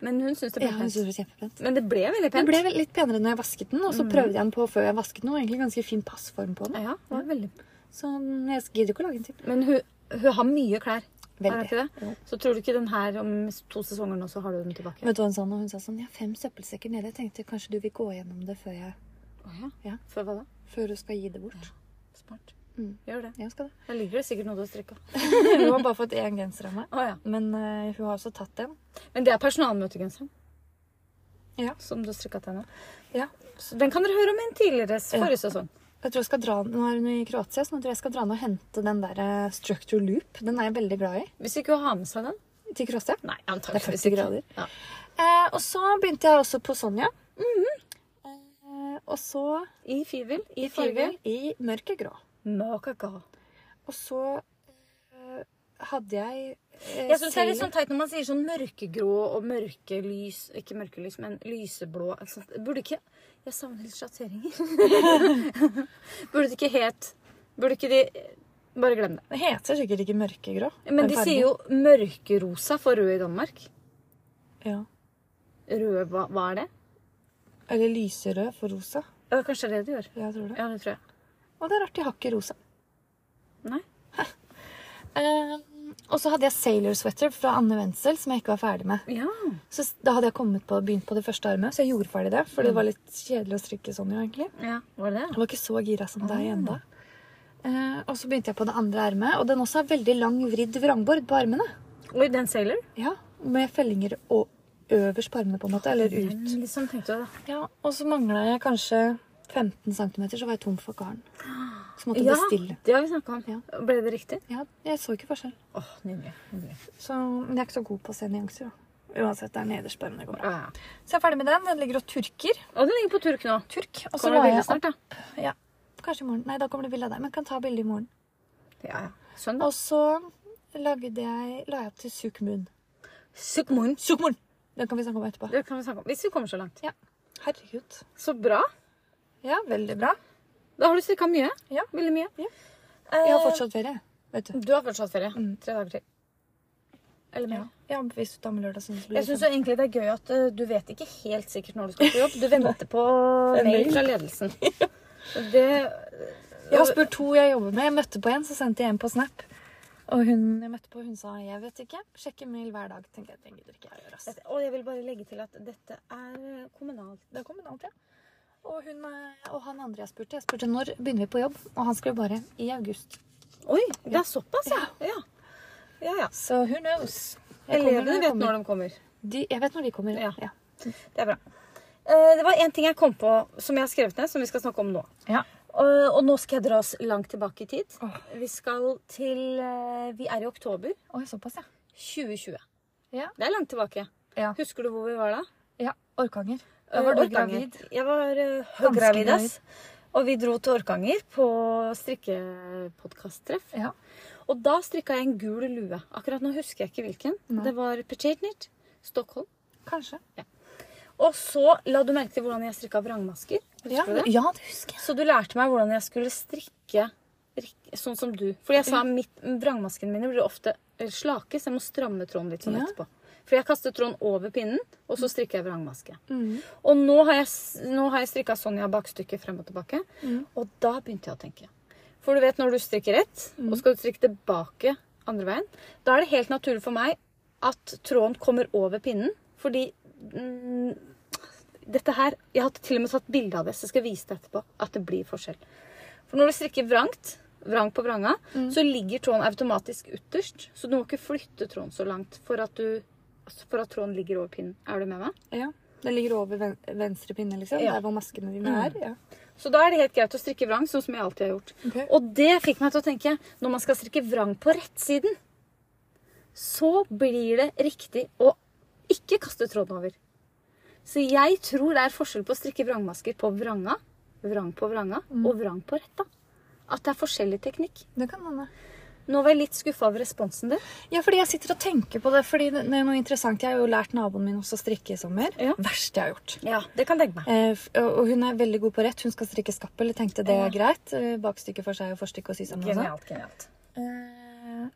Men hun syns det
Ja,
ble
hun
pent.
synes det var kjempepent.
Men det ble veldig
Den
pent.
ble vel litt penere når jeg vasket den, og så prøvde jeg den på før jeg vasket den. Og egentlig ganske fin passform på den.
Ja, det var veldig
Så jeg gidder ikke å lage en til.
Men hun, hun har mye klær. Er
Veldig.
det ikke det?
Jo.
Så tror du ikke den her om to sesonger nå, så har du den tilbake?
Vet du hva hun sa nå? Hun sa sånn Jeg har fem søppelsekker nede. Jeg tenkte kanskje du vil gå gjennom det før jeg
Å ja.
Ja.
Før hva da?
Før du skal gi det bort.
Smart.
Mm.
Gjør det.
Jeg skal det.
Jeg liker det sikkert noe du har strikka.
Hun har bare fått én genser av meg.
Å ja.
Men eh, hun har også tatt den.
Men det er personalmøtegenseren.
Ja.
Som du har strikka til henne.
Ja.
Så den kan dere høre om i en tidligere s-
Ja.
forrige sesong.
Jeg tror jeg skal dra, Nå er hun i Kroatia, så nå tror jeg jeg skal dra ned og hente den der eh, Structure Loop. Den er jeg veldig glad i.
Hvis ikke hun har med seg den
Til Kroatia.
Nei,
Det er
antakeligvis
40 grader.
Ja.
Eh, og så begynte jeg også på Sonja. eh, og så
I firvil. I firvil.
fargen i mørkegrå.
Makaka.
Og så eh, hadde jeg eh,
Jeg syns det er litt
Sailor-
sånn teit når man sier sånn mørkegrå og mørkelys Ikke mørkelys, men lyseblå. Altså, det burde ikke Jeg savner litt sjatteringer. burde det ikke het Burde ikke de Bare glem det.
Det heter sikkert ikke mørkegrå.
Men
den
de
fargen.
sier jo mørkerosa for rød i Danmark.
ja.
Rød, hva, hva er det?
Eller lyserød for rosa.
Ja, kanskje det er det de gjør.
Jeg tror det.
Ja, det tror jeg.
Og det er rart, de har ikke rosa.
Nei.
Eh, og så hadde jeg Sailor Sweater fra Anne Wenzel som jeg ikke var ferdig med.
Ja.
Så s- da hadde jeg kommet på, begynt på det første armet, så jeg gjorde ferdig det. For det var litt kjedelig å strikke sånn, jo, egentlig.
ja. Var det
Jeg var ikke så gira som
Ah.
deg enda. Eh, og så begynte jeg på det andre ermet, og den også har veldig lang vridd vrangbord på armene.
det? Oi, den sailor?
Ja, Med fellinger og øverst på armene, på en måte. Eller ut.
Den liksom tenkte jeg da.
Ja, Og så mangla jeg kanskje 15 cm, så var jeg tom for garn. Så måtte jeg
Ja,
bestille.
det har vi snakka om.
Ja.
Ble det riktig?
Ja, jeg så ikke forskjell.
Åh, nydelig. nydelig.
Så men jeg er ikke så god på å se nyanser. da. Uansett, det er nederst på armene det går bra.
Ja, ja.
Så jeg er ferdig med den. Den ligger og turker.
Og den ligger på turk nå.
Turk. Og så
Kommer
la
det
jeg
veldig snart,
opp.
da.
Ja, kanskje i morgen. Nei, da kommer det bilde av deg. Men jeg kan ta bilde i morgen.
Ja, ja. Sånn Søndag.
Og så lagde jeg, la jeg opp til Sukmun.
Sukmun.
Sukmun! Den kan vi snakke om etterpå.
Det kan vi snakke om. Hvis vi kommer så langt.
Ja. Herregud.
Så bra.
Ja, veldig bra.
Da har du strikka mye.
Ja.
Veldig mye.
Ja.
Eh,
Jeg har fortsatt ferie, vet du.
Du har fortsatt ferie. Tre dager til. Eller mer.
Ja, ja hvis du tar med lørdag, så
Jeg
blir det
syns egentlig det er gøy at eh, du vet ikke helt sikkert når du skal på jobb. Du venter på
Det er
mail
mail.
fra ledelsen. Og Det
fem. Jeg har spurt to jeg jobber med. Jeg møtte på en, så sendte jeg en på Snap. Og hun jeg møtte på, hun sa 'jeg vet ikke'. Sjekke mail hver dag. Tenkte jeg, det gidder ikke jeg gjøre. ass.
Og jeg vil bare legge til at dette er eh, kommunalt.
Det er kommunalt, ja. Og, hun, eh, og han andre jeg spurte, jeg spurte når begynner vi på jobb, og han skrev bare 'i august'.
Oi, det er såpass, ja. Ja, ja. ja.
Så who knows? Jeg kommer
Elevene vet
kommer.
når de kommer.
de Jeg vet når de kommer.
Ja.
ja.
Det er bra. Eh, Det var én ting jeg kom på som jeg har skrevet ned, som vi skal snakke om nå. Eh,
ja.
Og og nå skal jeg dra oss langt tilbake i tid.
Åh.
Vi skal til eh, Vi er i oktober
Oi, såpass, ja.
2020.
Ja.
Det er langt tilbake.
Ja.
Husker du hvor vi var da?
Ja, Orkanger. Da var du
Orkanger.
gravid.
Jeg var uh,
Ganske
høygravid.
gravid.
ass. Og vi dro til Orkanger på strikkepodkast-treff.
Ja.
Og da strikka jeg en gul lue. Akkurat nå husker jeg ikke hvilken.
Nei.
Det var Pechernit, Stockholm.
Kanskje.
Og så la du merke til hvordan jeg strikka vrangmasker. Husker
Ja.
du det?
ja, det husker jeg.
Så du lærte meg hvordan jeg skulle strikke rik- sånn som du. Fordi jeg sa mitt, vrangmaskene mine blir ofte eh, slake, så jeg må stramme tråden litt sånn
Ja.
etterpå. Fordi jeg kaster tråden over pinnen, og så strikker jeg vrangmaske.
Mm.
Og nå har jeg, s- nå har jeg strikka Sonja bakstykket frem og tilbake. Og da begynte jeg å tenke. For du vet når du strikker rett, og skal du strikke tilbake andre veien, da er det helt naturlig for meg at tråden kommer over pinnen. Fordi mm, dette her Jeg har til og med tatt bilde av det, så jeg skal vise det etterpå. At det blir forskjell. For når du strikker vrangt, vrang på vranga,
Mm.
så ligger tråden automatisk ytterst. Så du må ikke flytte tråden så langt for at, du, altså for at tråden ligger over pinnen. Er du med meg?
Ja. Den ligger over ven venstre pinne, liksom.
Ja.
Der hvor maskene dine
Mm.
er. Ja.
Så da er det helt greit å strikke vrang, sånn som jeg alltid har gjort.
Ok.
Og det fikk meg til å tenke, når man skal strikke vrang på rettsiden, så blir det riktig å ikke kaste tråden over. Så jeg tror det er forskjell på å strikke vrangmasker på vranga, vrang på vranga
Mm.
og vrang på retta. At det er forskjellig teknikk.
Det kan hende.
Nå var jeg litt skuffa over responsen din.
Ja, fordi jeg sitter og tenker på det, fordi det det er noe interessant. Jeg har jo lært naboen min også å strikke i sommer.
Ja.
Verste jeg har gjort.
Ja, det kan legge meg.
Eh, f- og og hun er veldig god på rett. Hun skal strikke skappel. Jeg tenkte det
Ja.
er greit. Eh, Bakstykke for seg og forstykke og sy sammen. og sånn.
Genialt, genialt.
Eh,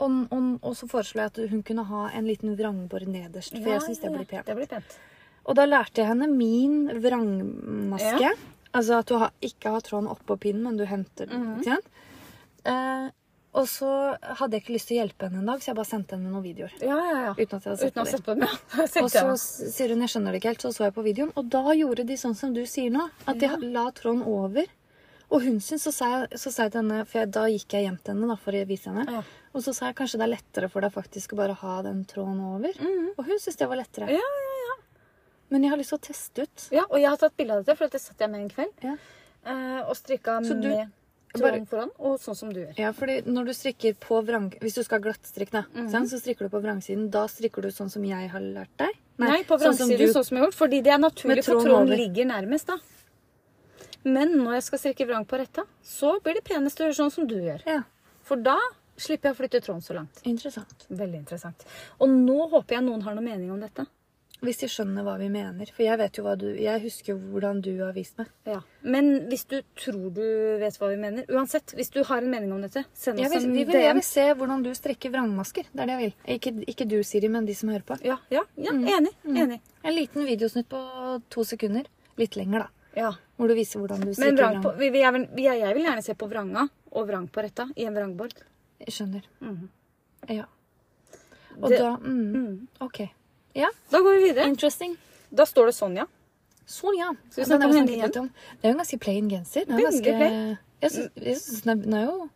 og, og, og så foreslo jeg at hun kunne ha en liten vrangbord nederst, for jeg syns det blir pent.
Det blir pent.
Og da lærte jeg henne min vrangmaske.
Ja.
Altså at du har, ikke har tråden oppå pinnen, men du henter den.
Mhm.
ikke sant? Eh, og så hadde jeg ikke lyst til å hjelpe henne en dag, så jeg bare sendte henne noen videoer.
Ja, ja, ja.
Uten at jeg hadde sett
Uten å ha
på dem.
sett på den. Ja.
Og
Sett
så
den.
s- sier hun 'jeg skjønner det ikke helt', så så jeg på videoen. Og da gjorde de sånn som du sier nå, at de
Ja.
la tråden over. Og hun syns, så sa jeg, så sa jeg til henne, for jeg, da gikk jeg hjem til henne da, for å vise henne.
Ja.
Og så sa jeg kanskje det er lettere for deg faktisk å bare ha den tråden over. Og hun syntes det var lettere.
Mhm. Ja,
Men jeg har lyst til å teste ut.
ja, og jeg har tatt bilde av dette, for dette satt jeg med en kveld.
Ja.
eh, Og strikka
Så du-
med tråden foran, og sånn som du gjør.
Ja, fordi når du strikker på vrang... Hvis du skal ha glattstrikk, da,
Mhm.
sant, så strikker du på vrangsiden. Da strikker du sånn som jeg har lært deg.
Nei, på
sånn som
vrangsiden, sånn,
du-
som jeg har gjort. Fordi det er naturlig,
Med
for
tråden
tråden
over.
ligger nærmest, da. Men når jeg skal strikke vrang på retta, så blir det penest å gjøre sånn som du gjør.
Ja,
For da slipper jeg å flytte tråden så langt.
interessant.
Veldig interessant. Og nå håper jeg noen har noen mening om dette.
Hvis de skjønner hva vi mener. For jeg vet jo hva du... Jeg husker jo hvordan du har vist meg.
Ja. Men hvis du tror du vet hva vi mener Uansett, hvis du har en mening om dette, send
Jeg
oss
vil,
en
vi vil, jeg
DM.
vil se hvordan du strekker vrangmasker. Det er det jeg vil. Ikke, ikke du, Siri, men de som hører på.
Ja, ja, ja
Mm.
enig. enig.
En liten videosnutt på to sekunder. Litt lenger, da.
Ja.
Hvor du viser hvordan du
Men
strikker
vrang
vrang.
på, vi, vi, jeg, vil, jeg, jeg vil gjerne se på vranga og vrang på retta i en vrangbord.
Jeg Skjønner.
Mhm.
Ja. Og
Det-
da mm, OK. Ja,
Da går vi videre.
interesting.
Da står det Sonja.
Sånn, ja.
Skal vi
Ja, den
snakke
har
om
vi
henne
snakket litt om. Det er jo en ganske plain genser. Den er
Veldig
ganske,
plain.
jeg syns- jeg syns den, er- den er jo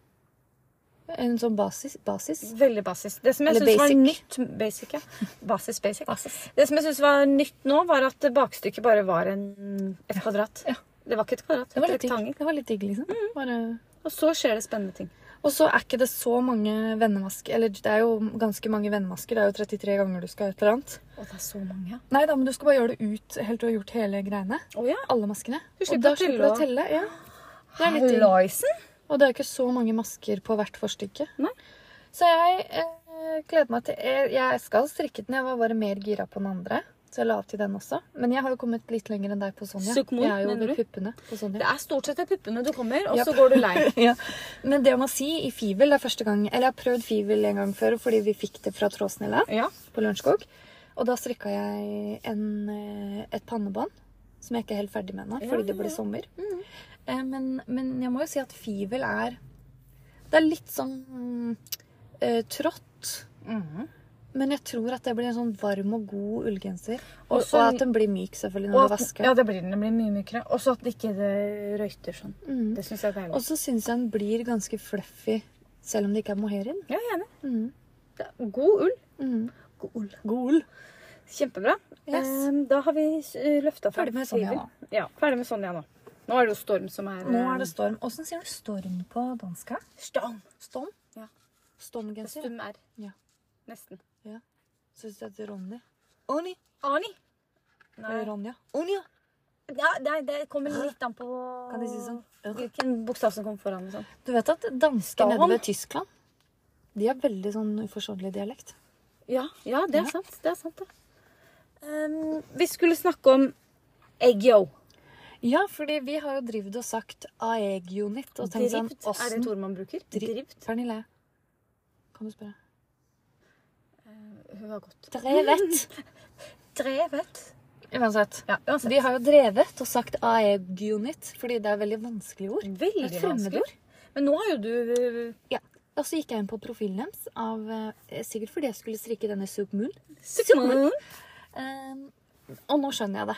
en sånn basis. basis.
Veldig basis. Det som jeg
Eller
synes var
basic.
nytt basic, ja. Basis, basic. Det som jeg synes var nytt nå, var at bakstykket bare var en, et kvadrat.
Ja.
Det var Mm. ikke et kvadrat,
Det var
et
litt digg,
rektangel.
det var litt digg liksom. Bare...
Og så skjer det spennende ting.
Og så er ikke det så mange vennemasker. Eller det er jo ganske mange vennemasker. Det er jo 33 ganger du skal et eller annet.
Og det er så mange.
Nei da, men du skal bare gjøre det ut helt til du har gjort hele greiene.
Å ja.
Alle maskene.
Du
Og
slipper
da
å telle
slipper du å
og-
telle. Ja. Det er litt digg.
Halloisen!
Og det er jo ikke så mange masker på hvert forstykke.
Nei.
Så jeg eh, gleder meg til jeg, jeg skal strikke den, jeg var bare mer gira på den andre. Så jeg la opp til den også. Men jeg har jo kommet litt lenger enn deg på Sonja.
Sukkmor,
jeg er jo
mener
ved
du?
puppene på Sonja.
Det er stort sett til puppene du kommer, og
Japp.
så går du lei.
Ja. Men det jeg må si i Fivel det er første gang Eller jeg har prøvd Fivel en gang før fordi vi fikk det fra Tråsnella
Ja.
på Lørenskog. Og da strikka jeg en, eh, et pannebånd som jeg ikke er helt ferdig med ennå,
Ja,
fordi det
ja,
ble
ja. Mm.
sommer. Eh, Men, men jeg må jo si at Fivel er Det er litt sånn mm, eh, trått. Mhm. Men jeg tror at det blir en sånn varm og god ullgenser. Og,
Og så-
og at den blir myk, selvfølgelig, når
Og
du
at,
vasker.
ja, det blir den. Den blir mye mykere. Og så at det ikke det røyter sånn.
Mm.
Det syns jeg er
Og
deilig.
så syns jeg den blir ganske fluffy, selv om det ikke er mohairien.
Ja, jeg er enig.
Mm.
Det er God ull.
Mm.
God ull.
God ull.
Kjempebra.
Yes.
Eh, Da har vi løfta
Ferdig med Sonja nå.
Ja, ferdig med Sonja nå. Nå er det jo Storm som er eh,
Nå er det storm. Åssen sier du Ehm, storm på dansk? her?
Storm.
Storm?
Ja.
Stormgenser.
Stum R.
Ja.
Nesten.
Syns du det heter Ronny? Oni.
Ani.
Eller Ronja. Onja.
Ja, nei, det kommer litt an på
Kan de si sånn?
hvilken bokstav som kommer foran. og sånn.
Du vet at dansker
Storm.
nede ved Tyskland de har veldig sånn uforståelig dialekt.
Ja, ja, det er
Ja.
sant. Det er sant, det. Ehm, vi skulle snakke om egg-yo.
Ja, fordi vi har jo drevet og sagt aegunit. Og tenkt sånn
Dript. Er det et
åssen-
ord man bruker?
Dri-
Dript.
Pernille, kan du spørre?
Hun har gått.
Drevet.
Drevet.
Uansett.
Ja, uansett.
Vi har jo drevet og sagt aegunit fordi det er veldig vanskelig ord.
Veldig
Det er et
vanskelig.
fremmedord.
Men nå har jo du eh,
Ja. Og så gikk jeg inn på profilen deres, av, eh, sikkert fordi jeg skulle strikke denne Soup Moon.
Simon.
Eh, og nå skjønner jeg det.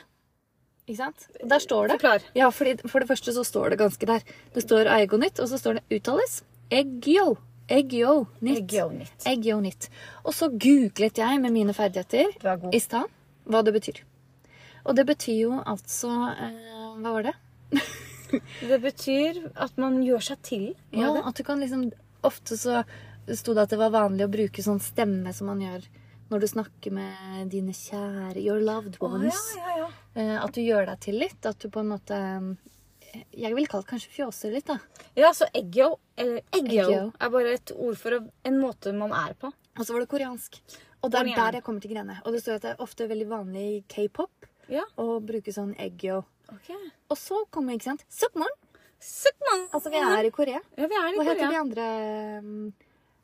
Ikke sant? Og Der står det.
Forklar.
Ja, fordi For det første så står det ganske der. Det står Aigo nytt, og så står det uttales Eggyo. Eggyo nytt.
Regionitt.
Eggyo nytt. Og så googlet jeg med mine ferdigheter
Du er god.
i stad hva det betyr. Og det betyr jo altså eh, Hva var det?
Det betyr at man gjør seg til. var
Ja,
det?
at du kan liksom Ofte så sto det at det var vanlig å bruke sånn stemme som man gjør når du snakker med dine kjære Your loved
Å,
ones.
Ah, ja, ja, ja.
Eh, At du gjør deg til litt. At du på en måte eh, Jeg vil kalle det kanskje fjåser litt, da.
Ja, så eggyo, eller eggyo,
Eggyo.
er bare et ord for å- en måte man er på.
Og så var det koreansk. Og det er
Korean.
der jeg kommer til greiene. Og det står at det er ofte veldig vanlig i k-pop
Ja.
å bruke sånn eggyo.
Ok.
Og så kommer, ikke sant Sukmon!
Sukman.
Altså, vi er i Korea.
Ja, vi er i
Hva heter de
Korea.
andre mm,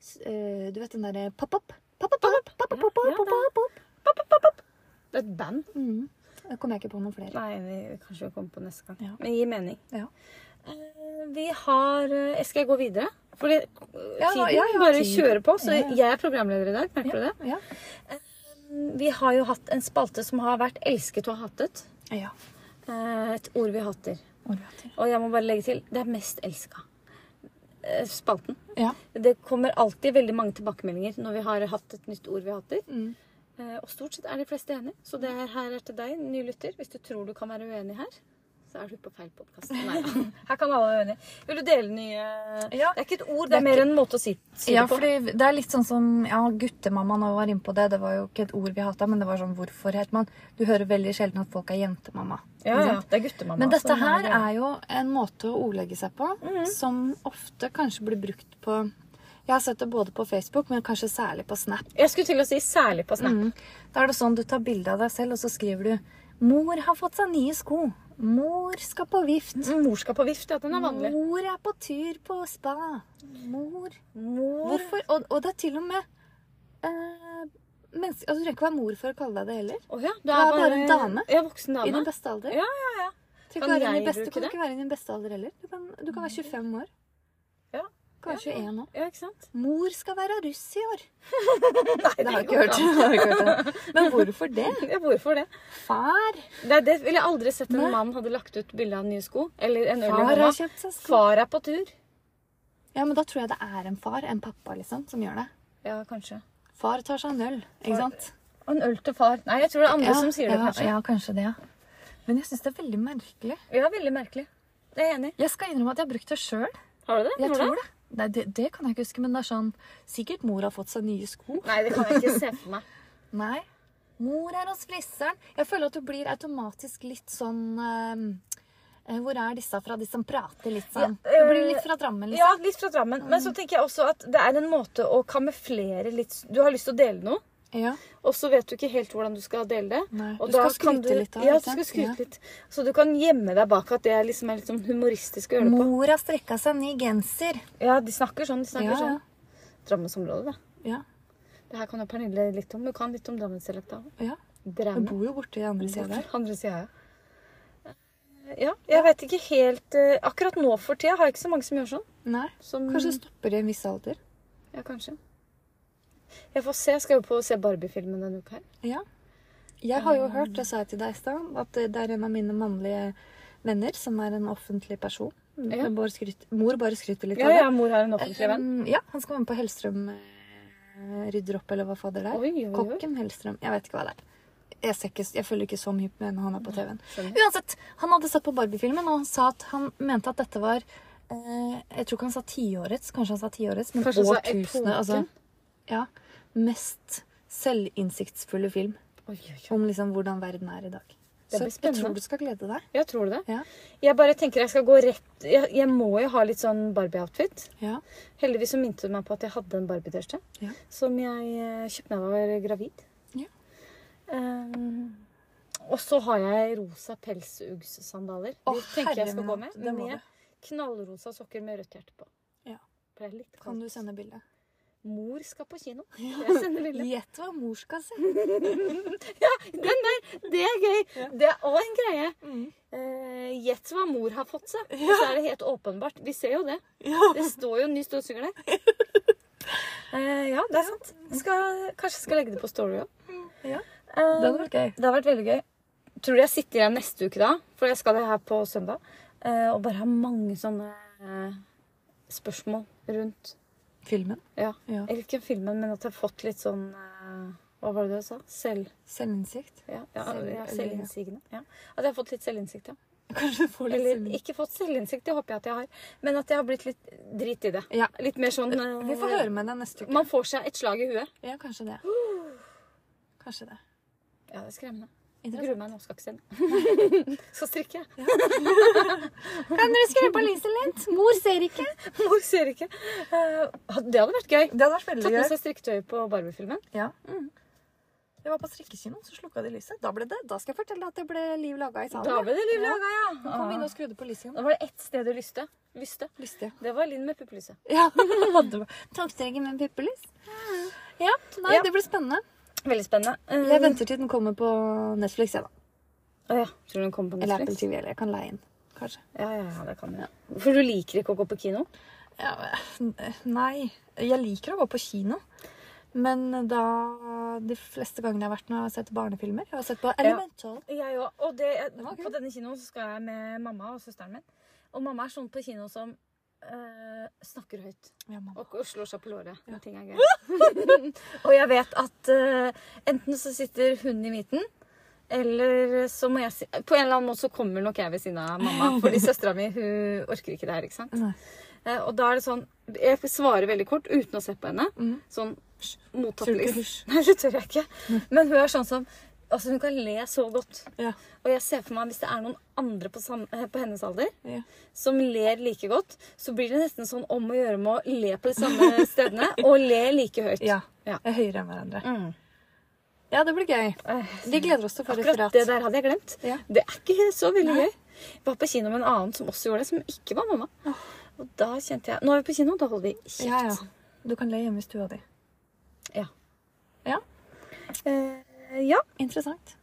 s- eh, Du vet den derre pop-up? Pop-up, pop-up,
ja, det er-
pop-up.
Det er et band.
Mm. Da kommer jeg ikke på noen flere.
Nei, vi kanskje vi kommer på neste gang.
Ja.
Men det gir mening.
Ja.
Eh, Vi har eh, Skal jeg gå videre? Fordi eh,
Ja,
tiden
ja, ja,
bare
tid.
kjører på. Så
Ja, ja.
jeg er programleder i dag. Merker du det?
Ja.
Vi har jo hatt en spalte som har vært elsket og hatet.
ja.
Eh, Et ord vi hater.
Orgater.
Og jeg må bare legge til det er mest elska. Eh, Spalten.
Ja.
Det kommer alltid veldig mange tilbakemeldinger når vi har hatt et nytt ord vi hater.
Mm.
Eh, Og stort sett er de fleste enig, så det her- her er til deg, ny lytter. Hvis du tror du kan være uenig her, så er du på feil podkast. her kan alle være uenige. Vil du dele nye
Ja.
Det er ikke et ord, det er,
Det er
mer
ikke-
en måte å si, si
Ja,
det på.
fordi det er litt sånn som ja, guttemamma nå var inne på det. Det var jo ikke et ord vi hata, men det var sånn hvorfor het man Du hører veldig sjelden at folk er jentemamma.
Ja,
ikke
ja,
sant?
det er guttemamma.
Men dette
som
her
det.
altså.
Mm.
er jo en måte å ordlegge seg på som ofte kanskje blir brukt på Jeg har sett det både på Facebook, men kanskje særlig på Snap.
Jeg skulle til å si særlig på Snap.
Mm. Da er det sånn du tar bilde av deg selv, og så skriver du 'Mor har fått seg nye sko'. 'Mor skal på vift'.
Mor skal på vift, ja. Den er vanlig.
'Mor er på tur på spa'. 'Mor'
Mor
Hvorfor? Og, og det er til og med eh, mennesker, altså, Du trenger ikke være mor for å kalle deg det heller.
Å ja, du
Du
er
er
bare,
bare en dame.
Ja, voksen
I
dame.
din beste alder.
Ja, ja.
Du trenger
Kan
ikke være i
jeg
din beste,
bruke
kan
det?
ikke være i din beste alder heller. Du kan, du kan være 25 år.
Ja.
Kanskje
Ja,
21 år.
Ja, ikke sant?
Mor skal være russ i år.
Nei,
Det har jeg ikke hørt. Jeg har ikke hørt det. Men hvorfor det?
Ja, hvorfor det?
Far
Nei, det ville jeg aldri sett en
Nei.
mann hadde lagt ut bilde av nye sko. Eller en øl i
Far
hånda.
har kjøpt seg sko.
Far er på tur.
Ja, men da tror jeg det er en far, en pappa, liksom, som gjør det.
Ja, kanskje.
Far tar seg en øl, ikke
Far-
sant?
Og en øl til far. Nei, jeg tror det er andre
Ja,
som sier det,
ja,
kanskje.
Ja, kanskje det, ja. Men jeg syns det er veldig merkelig.
Ja, veldig merkelig. Det er jeg enig i.
Jeg skal innrømme at jeg har brukt det sjøl.
Har du det?
Jeg
Hvordan?
tror det. Nei, det, det kan jeg ikke huske, men det er sånn Sikkert mor har fått seg nye sko.
Nei, det kan jeg ikke se for meg.
Nei. Mor er hos frisseren. Jeg føler at du blir automatisk litt sånn eh, eh, Hvor er disse fra, de som prater litt sånn?
Ja, eh,
du blir litt fra Drammen,
Ja,
liksom.
litt fra Drammen. Men så tenker jeg også at det er en måte å kamuflere litt Du har lyst til å dele noe,
liksom. Ja.
og så vet du ikke helt hvordan du skal dele det.
Nei.
Og
Du
da
skal
kan
skryte litt av
Ja, du
det, ikke
skal
sant?
skryte
Ja.
litt. Så du kan gjemme deg bak at det er liksom er litt sånn humoristisk å gjøre det på.
Mor har strekka seg ny genser.
Ja, de snakker sånn. De snakker
Ja, ja.
sånn. Drammensområdet, da.
Ja.
Det her kan jo Pernille litt om. Hun kan litt om Drammensdialekta.
ja. Du
Drammen.
bor jo borte i andre sida der.
Andre sida, ja. Ja, jeg vet ikke helt eh, Akkurat nå for tida har jeg ikke så mange som gjør sånn.
Nei.
Som,
Kanskje det stopper i en viss alder.
Ja, kanskje. Jeg får se. Jeg skal jo på å se Barbie-filmen denne uka her.
Ja. Jeg har
Eh.
jo hørt, det sa jeg til deg i stad, at det er en av mine mannlige venner som er en offentlig person.
Ja.
Mor, skryt, mor bare skryter litt
Ja,
av det.
ja, mor har en offentlig venn.
Um, ja, han skal være med på Hellstrøm eh, rydder opp, eller hva fader det er.
Oi, oi, oi.
Kokken Hellstrøm. Jeg vet ikke hva det er. Jeg, ser ikke, jeg følger ikke så mye med når han er på TV-en.
skjønner.
Uansett, han hadde sett på Barbie-filmen, og han sa at han mente at dette var eh, Jeg tror ikke han sa tiårets, kanskje han sa tiårets, men
Kanskje han sa epoken?
årtusenet. Altså, ja. Mest selvinnsiktsfulle film
Oi, oi, oi.
om liksom hvordan verden er i dag.
Det
Så
blir
jeg
spennende.
tror du skal glede deg.
Ja, tror du det?
Ja.
Jeg bare tenker jeg skal gå rett Jeg, jeg må jo ha litt sånn Barbie-outfit.
Ja.
Heldigvis så minte du meg på at jeg hadde en Barbie-T-skjorte.
Ja.
Som jeg eh, kjøpte da jeg var gravid.
Ja.
Ehm, og så har jeg rosa pelsugssandaler.
Å,
De tenker jeg
herre
skal
min
gå
hatt,
med.
det må
Med
du.
knallrosa sokker med rødt hjerte på.
Ja.
For det er litt
Kan du
kaldt.
sende bilde?
Mor skal på kino. Jeg sender bilde.
Gjett hva mor skal se!
Mm. Den der! Det er gøy! Det er òg en greie.
Mm.
Eh, Gjett hva mor har fått seg. Og Så er det helt åpenbart. Vi ser jo det. Det står jo en ny støvsuger der. Eh, ja, det er sant. Jeg skal, kanskje jeg skal legge det på story òg.
Mm. Ja.
Eh,
Det hadde vært gøy.
det har vært veldig gøy. tror jeg sitter igjen neste uke da, for jeg skal det her på søndag, eh, og bare har mange sånne eh, spørsmål rundt
Filmen.
ja.
Ja.
Eller ikke filmen, men at jeg har fått litt sånn eh, Hva var det du sa? Selv...
Selvinnsikt.
Ja, ja,
Selv-
ja,
eller-
selvinnsigende. Ja. At jeg har fått litt selvinnsikt, ja.
Kanskje du får litt
Eller
selvinnsikt.
ikke fått selvinnsikt, det håper jeg at jeg har. Men at jeg har blitt litt drit i det.
Ja.
Litt mer sånn eh,
Vi får høre med deg neste uke.
Man får seg et slag i huet.
Ja, kanskje det. Kanskje det.
Ja, det er skremmende. Jeg
Interessant.
gruer meg nå, skal ikke sende. Så strikker jeg.
Kan dere skru på lyset litt? Mor ser ikke.
Mor ser ikke. Eh, det hadde vært gøy.
Det hadde vært veldig
Tatt med
gøy.
seg strikketøy på Barbie-filmen.
Ja. altså. Mm. Jeg var på strikkekino, så slukka de lyset. Da, ble det, da skal jeg fortelle at det ble liv laga i salen.
Da ble det liv
Ja.
laga, ja.
Kom inn og skrudde på lyset igjen.
Da var det ett sted du lyste. Lyste.
Lyste.
Det var Linn med puppelyset.
Ja. Togstreken med puppelys. Ja. Nei,
Ja.
det blir spennende.
Veldig spennende. Eh,
Jeg venter til den kommer på Netflix, jeg, da.
Å ja. Tror du hun kommer på
Eller Apple
Netflix?
TV, eller jeg kan leie inn. Kanskje.
Ja, ja, ja, det kan hun. For du liker ikke å gå på kino?
Ja, men, nei. Jeg liker å gå på kino. Men da De fleste gangene jeg har vært når jeg har sett barnefilmer Jeg har sett på Elemental.
Jeg òg. Og det, eh,
var
på
kult.
denne kinoen så skal jeg med mamma og søsteren min. Og mamma er sånn på kino som eh, snakker høyt
Ja, mamma.
og, og slår seg på låret. når Ting er gøy. og jeg vet at eh, enten så sitter hun i midten, eller så må jeg si På en eller annen måte så kommer nok jeg ved siden av mamma. Fordi søstera mi hun orker ikke det her. ikke sant?
Nei.
Eh, og da er det sånn Jeg svarer veldig kort uten å se på henne.
Mhm.
Sånn
Hysj. Tror du ikke
mottakelig.
hysj?
Nei, det tør jeg ikke. Men hun er sånn som Altså, hun kan le så godt.
Ja.
Og jeg ser for meg hvis det er noen andre på, sam eh, på hennes alder
Ja.
som ler like godt, så blir det nesten sånn om å gjøre med å le på de samme stedene og le like høyt.
ja.
Ja.
Jeg er høyere enn hverandre.
Mm.
Ja, det blir gøy.
Eh,
Vi gleder oss til å få
Akkurat
referat.
det der hadde jeg glemt.
Ja.
Det er ikke så veldig gøy. Jeg var på kino med en annen som også gjorde det, som ikke var mamma. Og da kjente jeg Nå er vi på kino, da holder vi kjeft.
Ja, ja. Du kan le hjemme i stua di.
Ja.
Ja.
Eh, ja,
Interessant.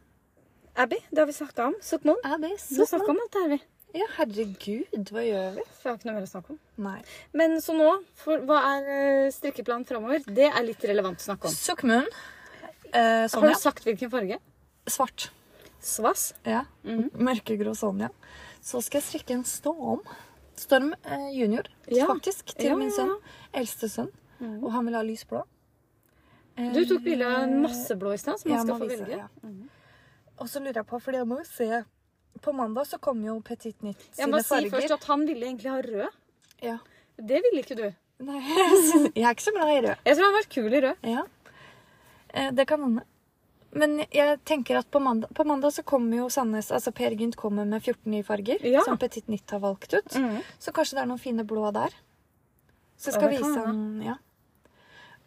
Abby, det har vi snakka om. Sukmon.
Er det
Du har snakka om alt det her, vi.
Ja, herregud, hva gjør vi?
For jeg har ikke noe mer å snakke om.
Nei.
Men så nå, for hva er eh, strikkeplanen framover? Det er litt relevant å snakke om.
Sukkmunn.
Sånn.
Eh,
Har
Sonja.
du sagt hvilken farge?
Svart.
Svass?
Ja.
Mhm.
Mørkegrå Sonja. Så skal jeg strikke en Storm. Storm eh, junior,
Ja.
faktisk. Til
Ja,
min
ja,
sønn. Eldste sønn.
Mhm.
Og han vil ha lysblå. Eh,
Du tok bilde av en masse blå i stad, som
Ja,
man skal
man
få
viser,
velge.
ja. Og så lurer jeg på, fordi jeg må jo se På mandag så kommer jo Petit Nytt
Jeg
sine
må si
farger.
først at han ville egentlig ha rød.
Ja.
Det ville ikke du.
Nei, jeg synes- jeg er ikke så glad i rød.
Jeg tror han var kul i rød.
Ja, eh, det kan hende. Men jeg tenker at på mandag, på mandag så kommer jo Sandnes Altså Per Gynt kommer med 14 nye farger
Ja.
som Petit Nytt har valgt ut. Så kanskje det er noen fine blå der. Så jeg
Ja,
skal
det kan
vise han ja.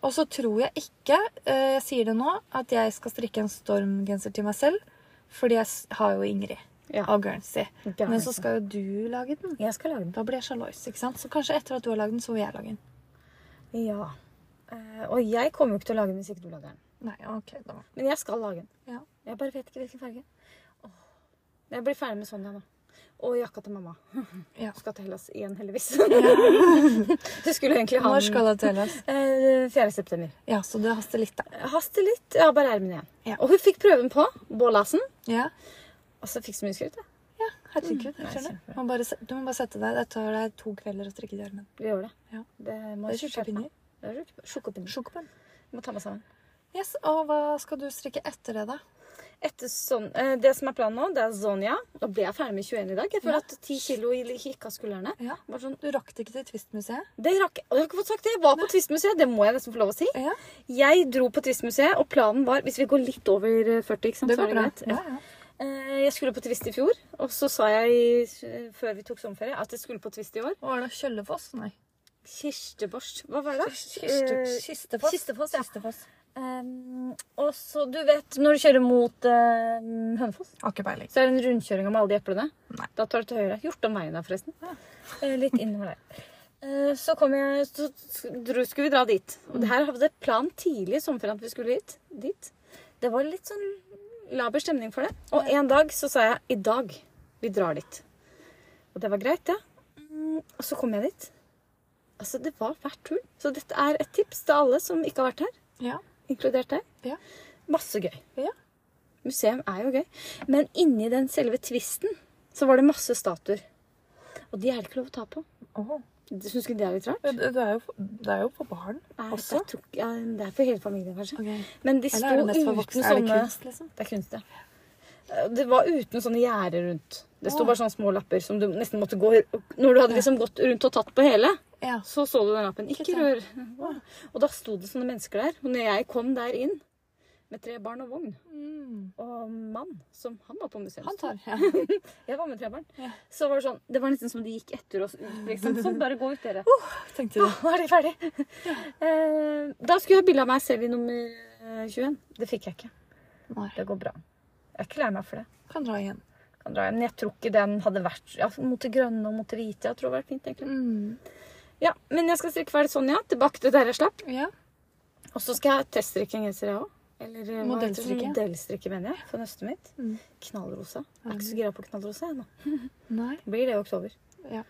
Og så tror jeg ikke, eh, jeg sier det nå, at jeg skal strikke en stormgenser til meg selv. Fordi jeg s- har jo Ingrid
Ja.
og Guernsey.
Guernsey.
Men så skal jo du lage den.
Jeg skal lage den.
Da blir jeg sjaluis, ikke sant? Så kanskje etter at du har lagd den, så vil jeg lage den.
Ja. Eh, og jeg kommer jo ikke til å lage den hvis ikke du lager den.
Nei, ok, da.
Men jeg skal lage den.
Ja.
Jeg bare vet ikke hvilken farge. Åh. Jeg blir ferdig med Sonja nå. Og jakka til mamma.
Ja.
Skal til Hellas igjen, heldigvis. du skulle egentlig ha
Når skal det telles?
Eh, 4. september.
Ja, så det haster litt, da.
Haste litt. Jeg har bare ermene igjen.
Ja.
Og hun fikk prøven på. Bålasen.
Ja,
Altså, jeg fikk så mye skryt, jeg.
ja herregud.
Mm, nei,
Jeg skjønner.
kjempe.
Du må, bare, se- du må bare sette deg. Det tar deg to kvelder å strikke de armene.
Vi gjør det.
Ja.
Det må
Det er
jeg
tjukke
skjerpe meg.
pinner.
Det er tjukke- Sjokopinner.
Sjokobønn.
Må ta meg sammen.
Yes, og hva skal du strikke etter det, da?
Etter sånn, eh, det som er planen nå, det er Zonja. Nå ble jeg ferdig med 21 i dag. Jeg føler
Ja.
at 10 kilo gikk av skuldrene.
Ja.
Bare sånn,
Du rakk det ikke til Twist-museet?
det rakk jeg. Og jeg har ikke fått sagt det. Jeg var på Twist-museet. Det må jeg nesten få lov å si.
Ja,
Jeg dro på Twist-museet, og planen var Hvis vi går litt over eh, 40, ikke sant,
det
så er
går bra.
det greit.
Ja, ja.
Eh, Jeg skulle på Twist i fjor, og så sa jeg eh, før vi tok sommerferie at jeg skulle på Twist i år.
Hva var det? Kjøllefoss? Nei.
Kirsteborst Hva var det? da?
Kiste-
Eh,
Kistefoss.
Kistefoss, ja.
Kistefoss.
Um, og så, du vet, når du kjører mot eh, Hønefoss,
Har ikke peiling.
så er det en rundkjøring om alle de eplene.
Nei.
Da tar du til høyre. Hjortomveien der, forresten. Eh, litt innover der. Eh, Så, kom jeg, så dro, skulle vi dra dit. Og det her hadde plan tidlig i sommerferien at vi skulle hit, dit. Det var litt sånn laber stemning for det. Og en dag så sa jeg i dag vi drar dit. Og det var greit, det. Mm, Og så kom jeg dit. Altså, det var hvert hull. Så dette er et tips til alle som ikke har vært her,
Ja.
inkludert deg.
Ja.
Masse gøy.
Ja.
Museum er jo gøy. Men inni den selve tvisten så var det masse statuer. Og de er det ikke lov å ta på.
Åh.
Syns ikke det er litt rart?
Det, det, er jo, for- det er jo for barn
Nei,
også.
jeg tror ikke- ja, det er for hele familien, kanskje.
Ok.
Men de
Eller er
sto
det mest for
uten
voksne? Er det
sånne
kunst, liksom?
Det er kunst, ja. Eh, Det var uten sånne gjerder rundt. Det sto
Åh.
bare sånne små lapper som du nesten måtte gå Når du hadde liksom gått rundt og tatt på hele,
Ja.
så så du den lappen. Ikke
Ikke
rør. Og da sto det sånne mennesker der. Og når jeg kom der inn med tre barn og vogn
Mm.
og mann, som han var på museum
Han tar. Ja.
Jeg var med tre barn.
Ja.
Så var det sånn Det var nesten som de gikk etter oss ut, liksom. Sånn, bare gå ut, dere.
Tenkte du.
Nå er de ferdige. Eh, Da skulle jeg ha bilde av meg selv i nummer eh, 21. Det fikk jeg ikke.
Nei.
Det går bra. Jeg er ikke lei meg for det.
Kan dra igjen.
kan dra hjem. Men jeg tror ikke den hadde vært ja, mot det grønne og mot det hvite. Jeg tror det hadde vært fint, egentlig.
Mm.
Ja, Men jeg skal strikke ferdig sånn, ja. Tilbake til der jeg slapp.
Ja.
Og så skal jeg teststrikke en genser, jeg òg. Eller eh, hva heter det?
Modellstrikke.
modellstrikke, mener jeg. For nøstet mitt.
Mm.
Knallrosa. Jeg er ikke så gira på knallrosa ennå.
Nei.
Blir det i oktober.
Ja.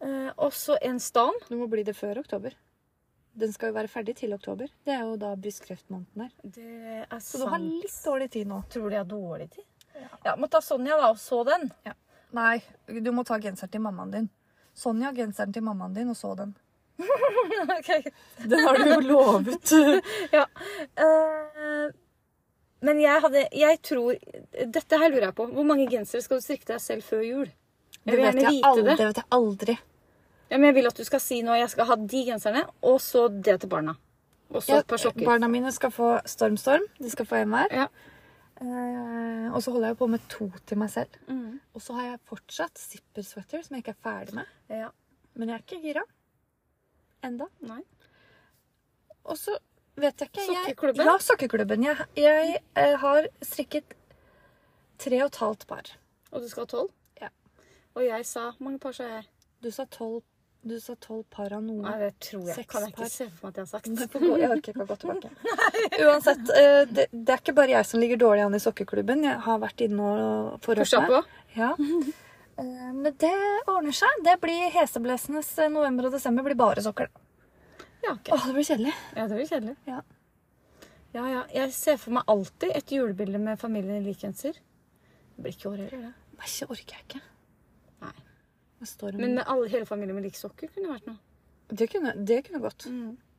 Eh, og så en stan.
Du må bli det før oktober. Den skal jo være ferdig til oktober. Det er jo da brystkreftmåneden er.
Det er
Så du har
sant.
litt dårlig tid nå.
Tror de har dårlig tid. Ja. Må ta Sonja, da, og så den.
Nei, du må ta genseren til mammaen din. Sonja, genseren til mammaen din, og så den.
Ok.
Den har du jo lovet.
Eh, men jeg hadde Jeg tror Dette her lurer jeg på. Hvor mange gensere skal du strikke deg selv før jul? Jeg
Det
vil
vet
gjerne
jeg
vite
aldri.
det.
Det vet jeg aldri.
Ja, men jeg vil at du skal si nå jeg skal ha de genserne, og så det til barna. Og så
Ja,
et par sokker.
barna mine skal få Storm Storm. De skal få en hver.
Ja.
Eh, og så holder jeg på med to til meg selv.
Mm.
Og så har jeg fortsatt zippersweater som jeg ikke er ferdig med.
Ja.
Men jeg er ikke gira. Enda.
Nei.
Og så vet jeg ikke jeg,
Sokkeklubben?
Ja, sokkeklubben. Jeg, jeg eh, har strikket tre og et halvt par.
Og du skal ha tolv?
Ja.
Og jeg sa Hvor mange par sa jeg?
Du sa tolv, du sa tolv par av noen.
Nei, det tror jeg.
Seks
kan jeg
par.
ikke se for meg at jeg har sagt.
Det får gå, jeg orker ikke å gå tilbake. Uansett, eh, det, det er ikke bare jeg som ligger dårlig an i sokkeklubben. Jeg har vært inne og forhørt
Pusha
meg.
på.
Ja. Eh, Men det ordner seg. Det blir Heseblessenes eh, november og desember blir bare sokker.
Ja, ok.
Åh, det blir kjedelig.
ja, det blir kjedelig.
Ja.
ja, ja. Jeg ser for meg alltid et julebilde med familien i lik genser. Det blir ikke i år heller, det.
Nei, det orker jeg ikke.
Nei.
Det, står om-
Men med alle, hele familien med like sokker kunne vært noe.
det, kunne, det kunne gått.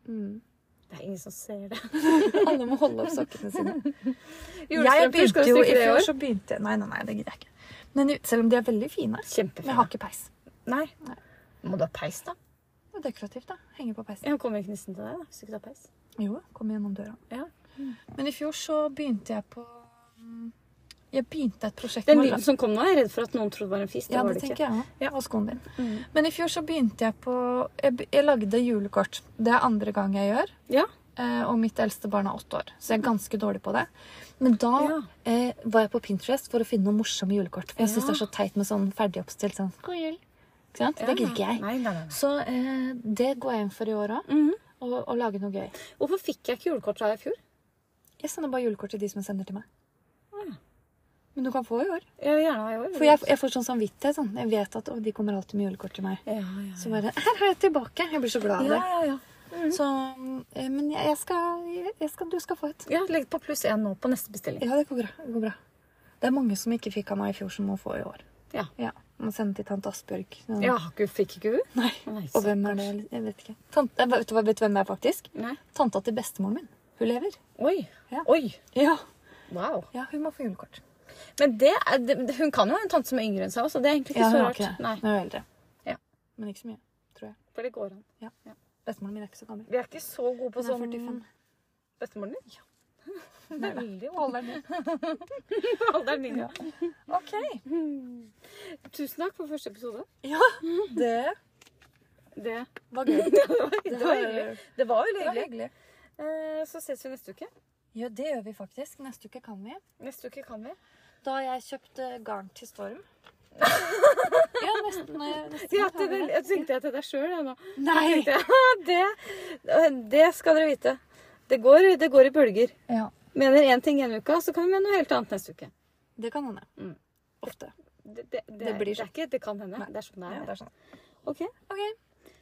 Mm.
Det er ingen som ser det.
Alle må holde opp sokkene sine. Jeg
Julestrømper
begynte
skal du
jo i
strikke det i
fjor,
år.
så begynte jeg Nei, nei, nei, det gidder jeg ikke. Men, i- selv om de er veldig fine. Men jeg har
Kjempefint.
ikke peis.
Nei.
Nei.
Må du ha peis, da?
Det er dekorativt, da. Henger på peisen.
Jeg kommer ikke nissen til deg da, hvis du ikke tar peis.
Jo, kom gjennom døra.
Ja.
Men i fjor så begynte jeg på mm, Jeg begynte et prosjekt
Den
med å
lyden som kom nå, er jeg redd for at noen trodde var en fis. Det
Ja,
var
det
det
tenker
ikke.
jeg òg.
Ja.
Og skoen din.
Mm.
Men i fjor så begynte jeg på jeg, be- jeg lagde julekort. Det er andre gang jeg gjør.
Ja.
eh, Og mitt eldste barn er åtte år, så jeg er ganske dårlig på det. Men da
Ja.
eh, var jeg på Pinterest for å finne noen morsomme julekort. For jeg syns
Ja.
det er så teit med sånn ferdigoppstilt sånn God jul. Ikke sant? Det gidder ikke jeg.
Nei, nei, nei.
Så eh, det går jeg inn for i år òg.
Mhm.
Og, og lage noe gøy.
Hvorfor fikk jeg ikke julekort fra deg i fjor?
Jeg sender bare julekort til de som jeg sender til meg.
Ja.
Men du kan få i år.
Jeg vil gjerne ha i år.
For jeg, jeg får sånn samvittighet. Sånn. Jeg vet at å, de kommer alltid med julekort til meg.
Ja, ja,
Så bare Her er jeg tilbake! Jeg blir så glad av
ja. mm.
det.
ja, ja.
Så, eh, men jeg, jeg, skal, jeg, jeg skal Du skal få et.
ja legg på pluss én nå på neste bestilling.
Ja, det går bra. Det går bra. Det er mange som ikke fikk av meg i fjor, som må få i år.
Ja.
Ja, Må sende til tante Asbjørg. Ja.
Ja, har ikke- fikk ikke hun?
Nei.
Mm. Nei,
Og
så-
hvem er det? Jeg vet ikke. Tante, jeg vet, du hva- vet du hvem det er, faktisk?
Nei.
Tanta til bestemoren min. Hun lever.
Oi.
Ja.
Oi.
Ja.
Wow.
ja hun må få julekort.
Men det er, det, hun kan jo ha en tante som er yngre enn seg også. Det er egentlig ikke
Ja,
så
hun har
rart.
ikke det.
Nei,
Hun er eldre.
Ja.
Men ikke så mye, tror jeg.
For det går an.
Bestemoren min er ikke så gammel.
Vi er ikke så gode på
Hun er
sånn
45.
Bestemoren din? Ja. Veldig
Alderen min.
alderen min.
Ja. OK.
Tusen takk for første episode.
Ja, det
Det,
var gøy.
det, var, det var hyggelig. Det var
Det
veldig
var
hyggelig.
hyggelig.
Eh, Så ses vi neste uke.
Ja, det gjør vi faktisk. Neste uke kan vi.
Neste uke kan vi.
Da har jeg kjøpt eh, garn til Storm. ja, nesten. eh, nesten
Ja,
kan
til
vi
det, jeg tenkte jeg til deg sjøl, jeg nå.
Nei!
Tenkte jeg, det, det skal dere vite. Det går, det går i bølger.
Ja,
Mener én ting ene uka, så kan vi mene noe helt annet neste uke.
det kan hende.
Mm.
Ofte.
Det, det, det,
Det blir
er, det
sånn.
er ikke det kan hende.
Nei.
Det er sånn det
Ja,
er.
det er sånn.
Ok.
OK.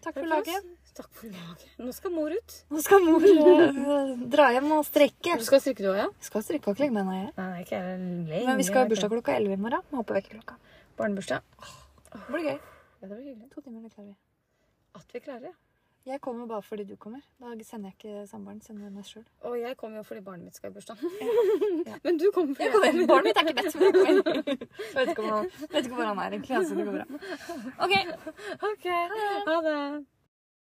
Takk for laget.
Takk for laget. Nå skal mor ut.
Nå skal mor eh, dra hjem og strekke.
Du skal strikke du òg, ja?
Vi skal strikke og klemme henne. jeg.
Nei, det er ikke jeg lenge.
Men vi skal ha bursdag klokka 11 i morgen. Må hoppe vekk klokka.
Barnebursdag.
Det blir gøy.
Ja, det blir hyggelig.
To timer, det klarer vi.
At vi klarer det.
Jeg kommer bare fordi du kommer. Da sender jeg ikke samboeren. Sender jeg meg sjøl.
Og jeg kommer jo fordi barnet mitt skal i bursdag. Men du kommer fordi
Barnet mitt er ikke bedt, men jeg kommer. Jeg vet ikke hvor han, vet ikke hvor han er egentlig. Altså, det går bra.
OK. Ha det.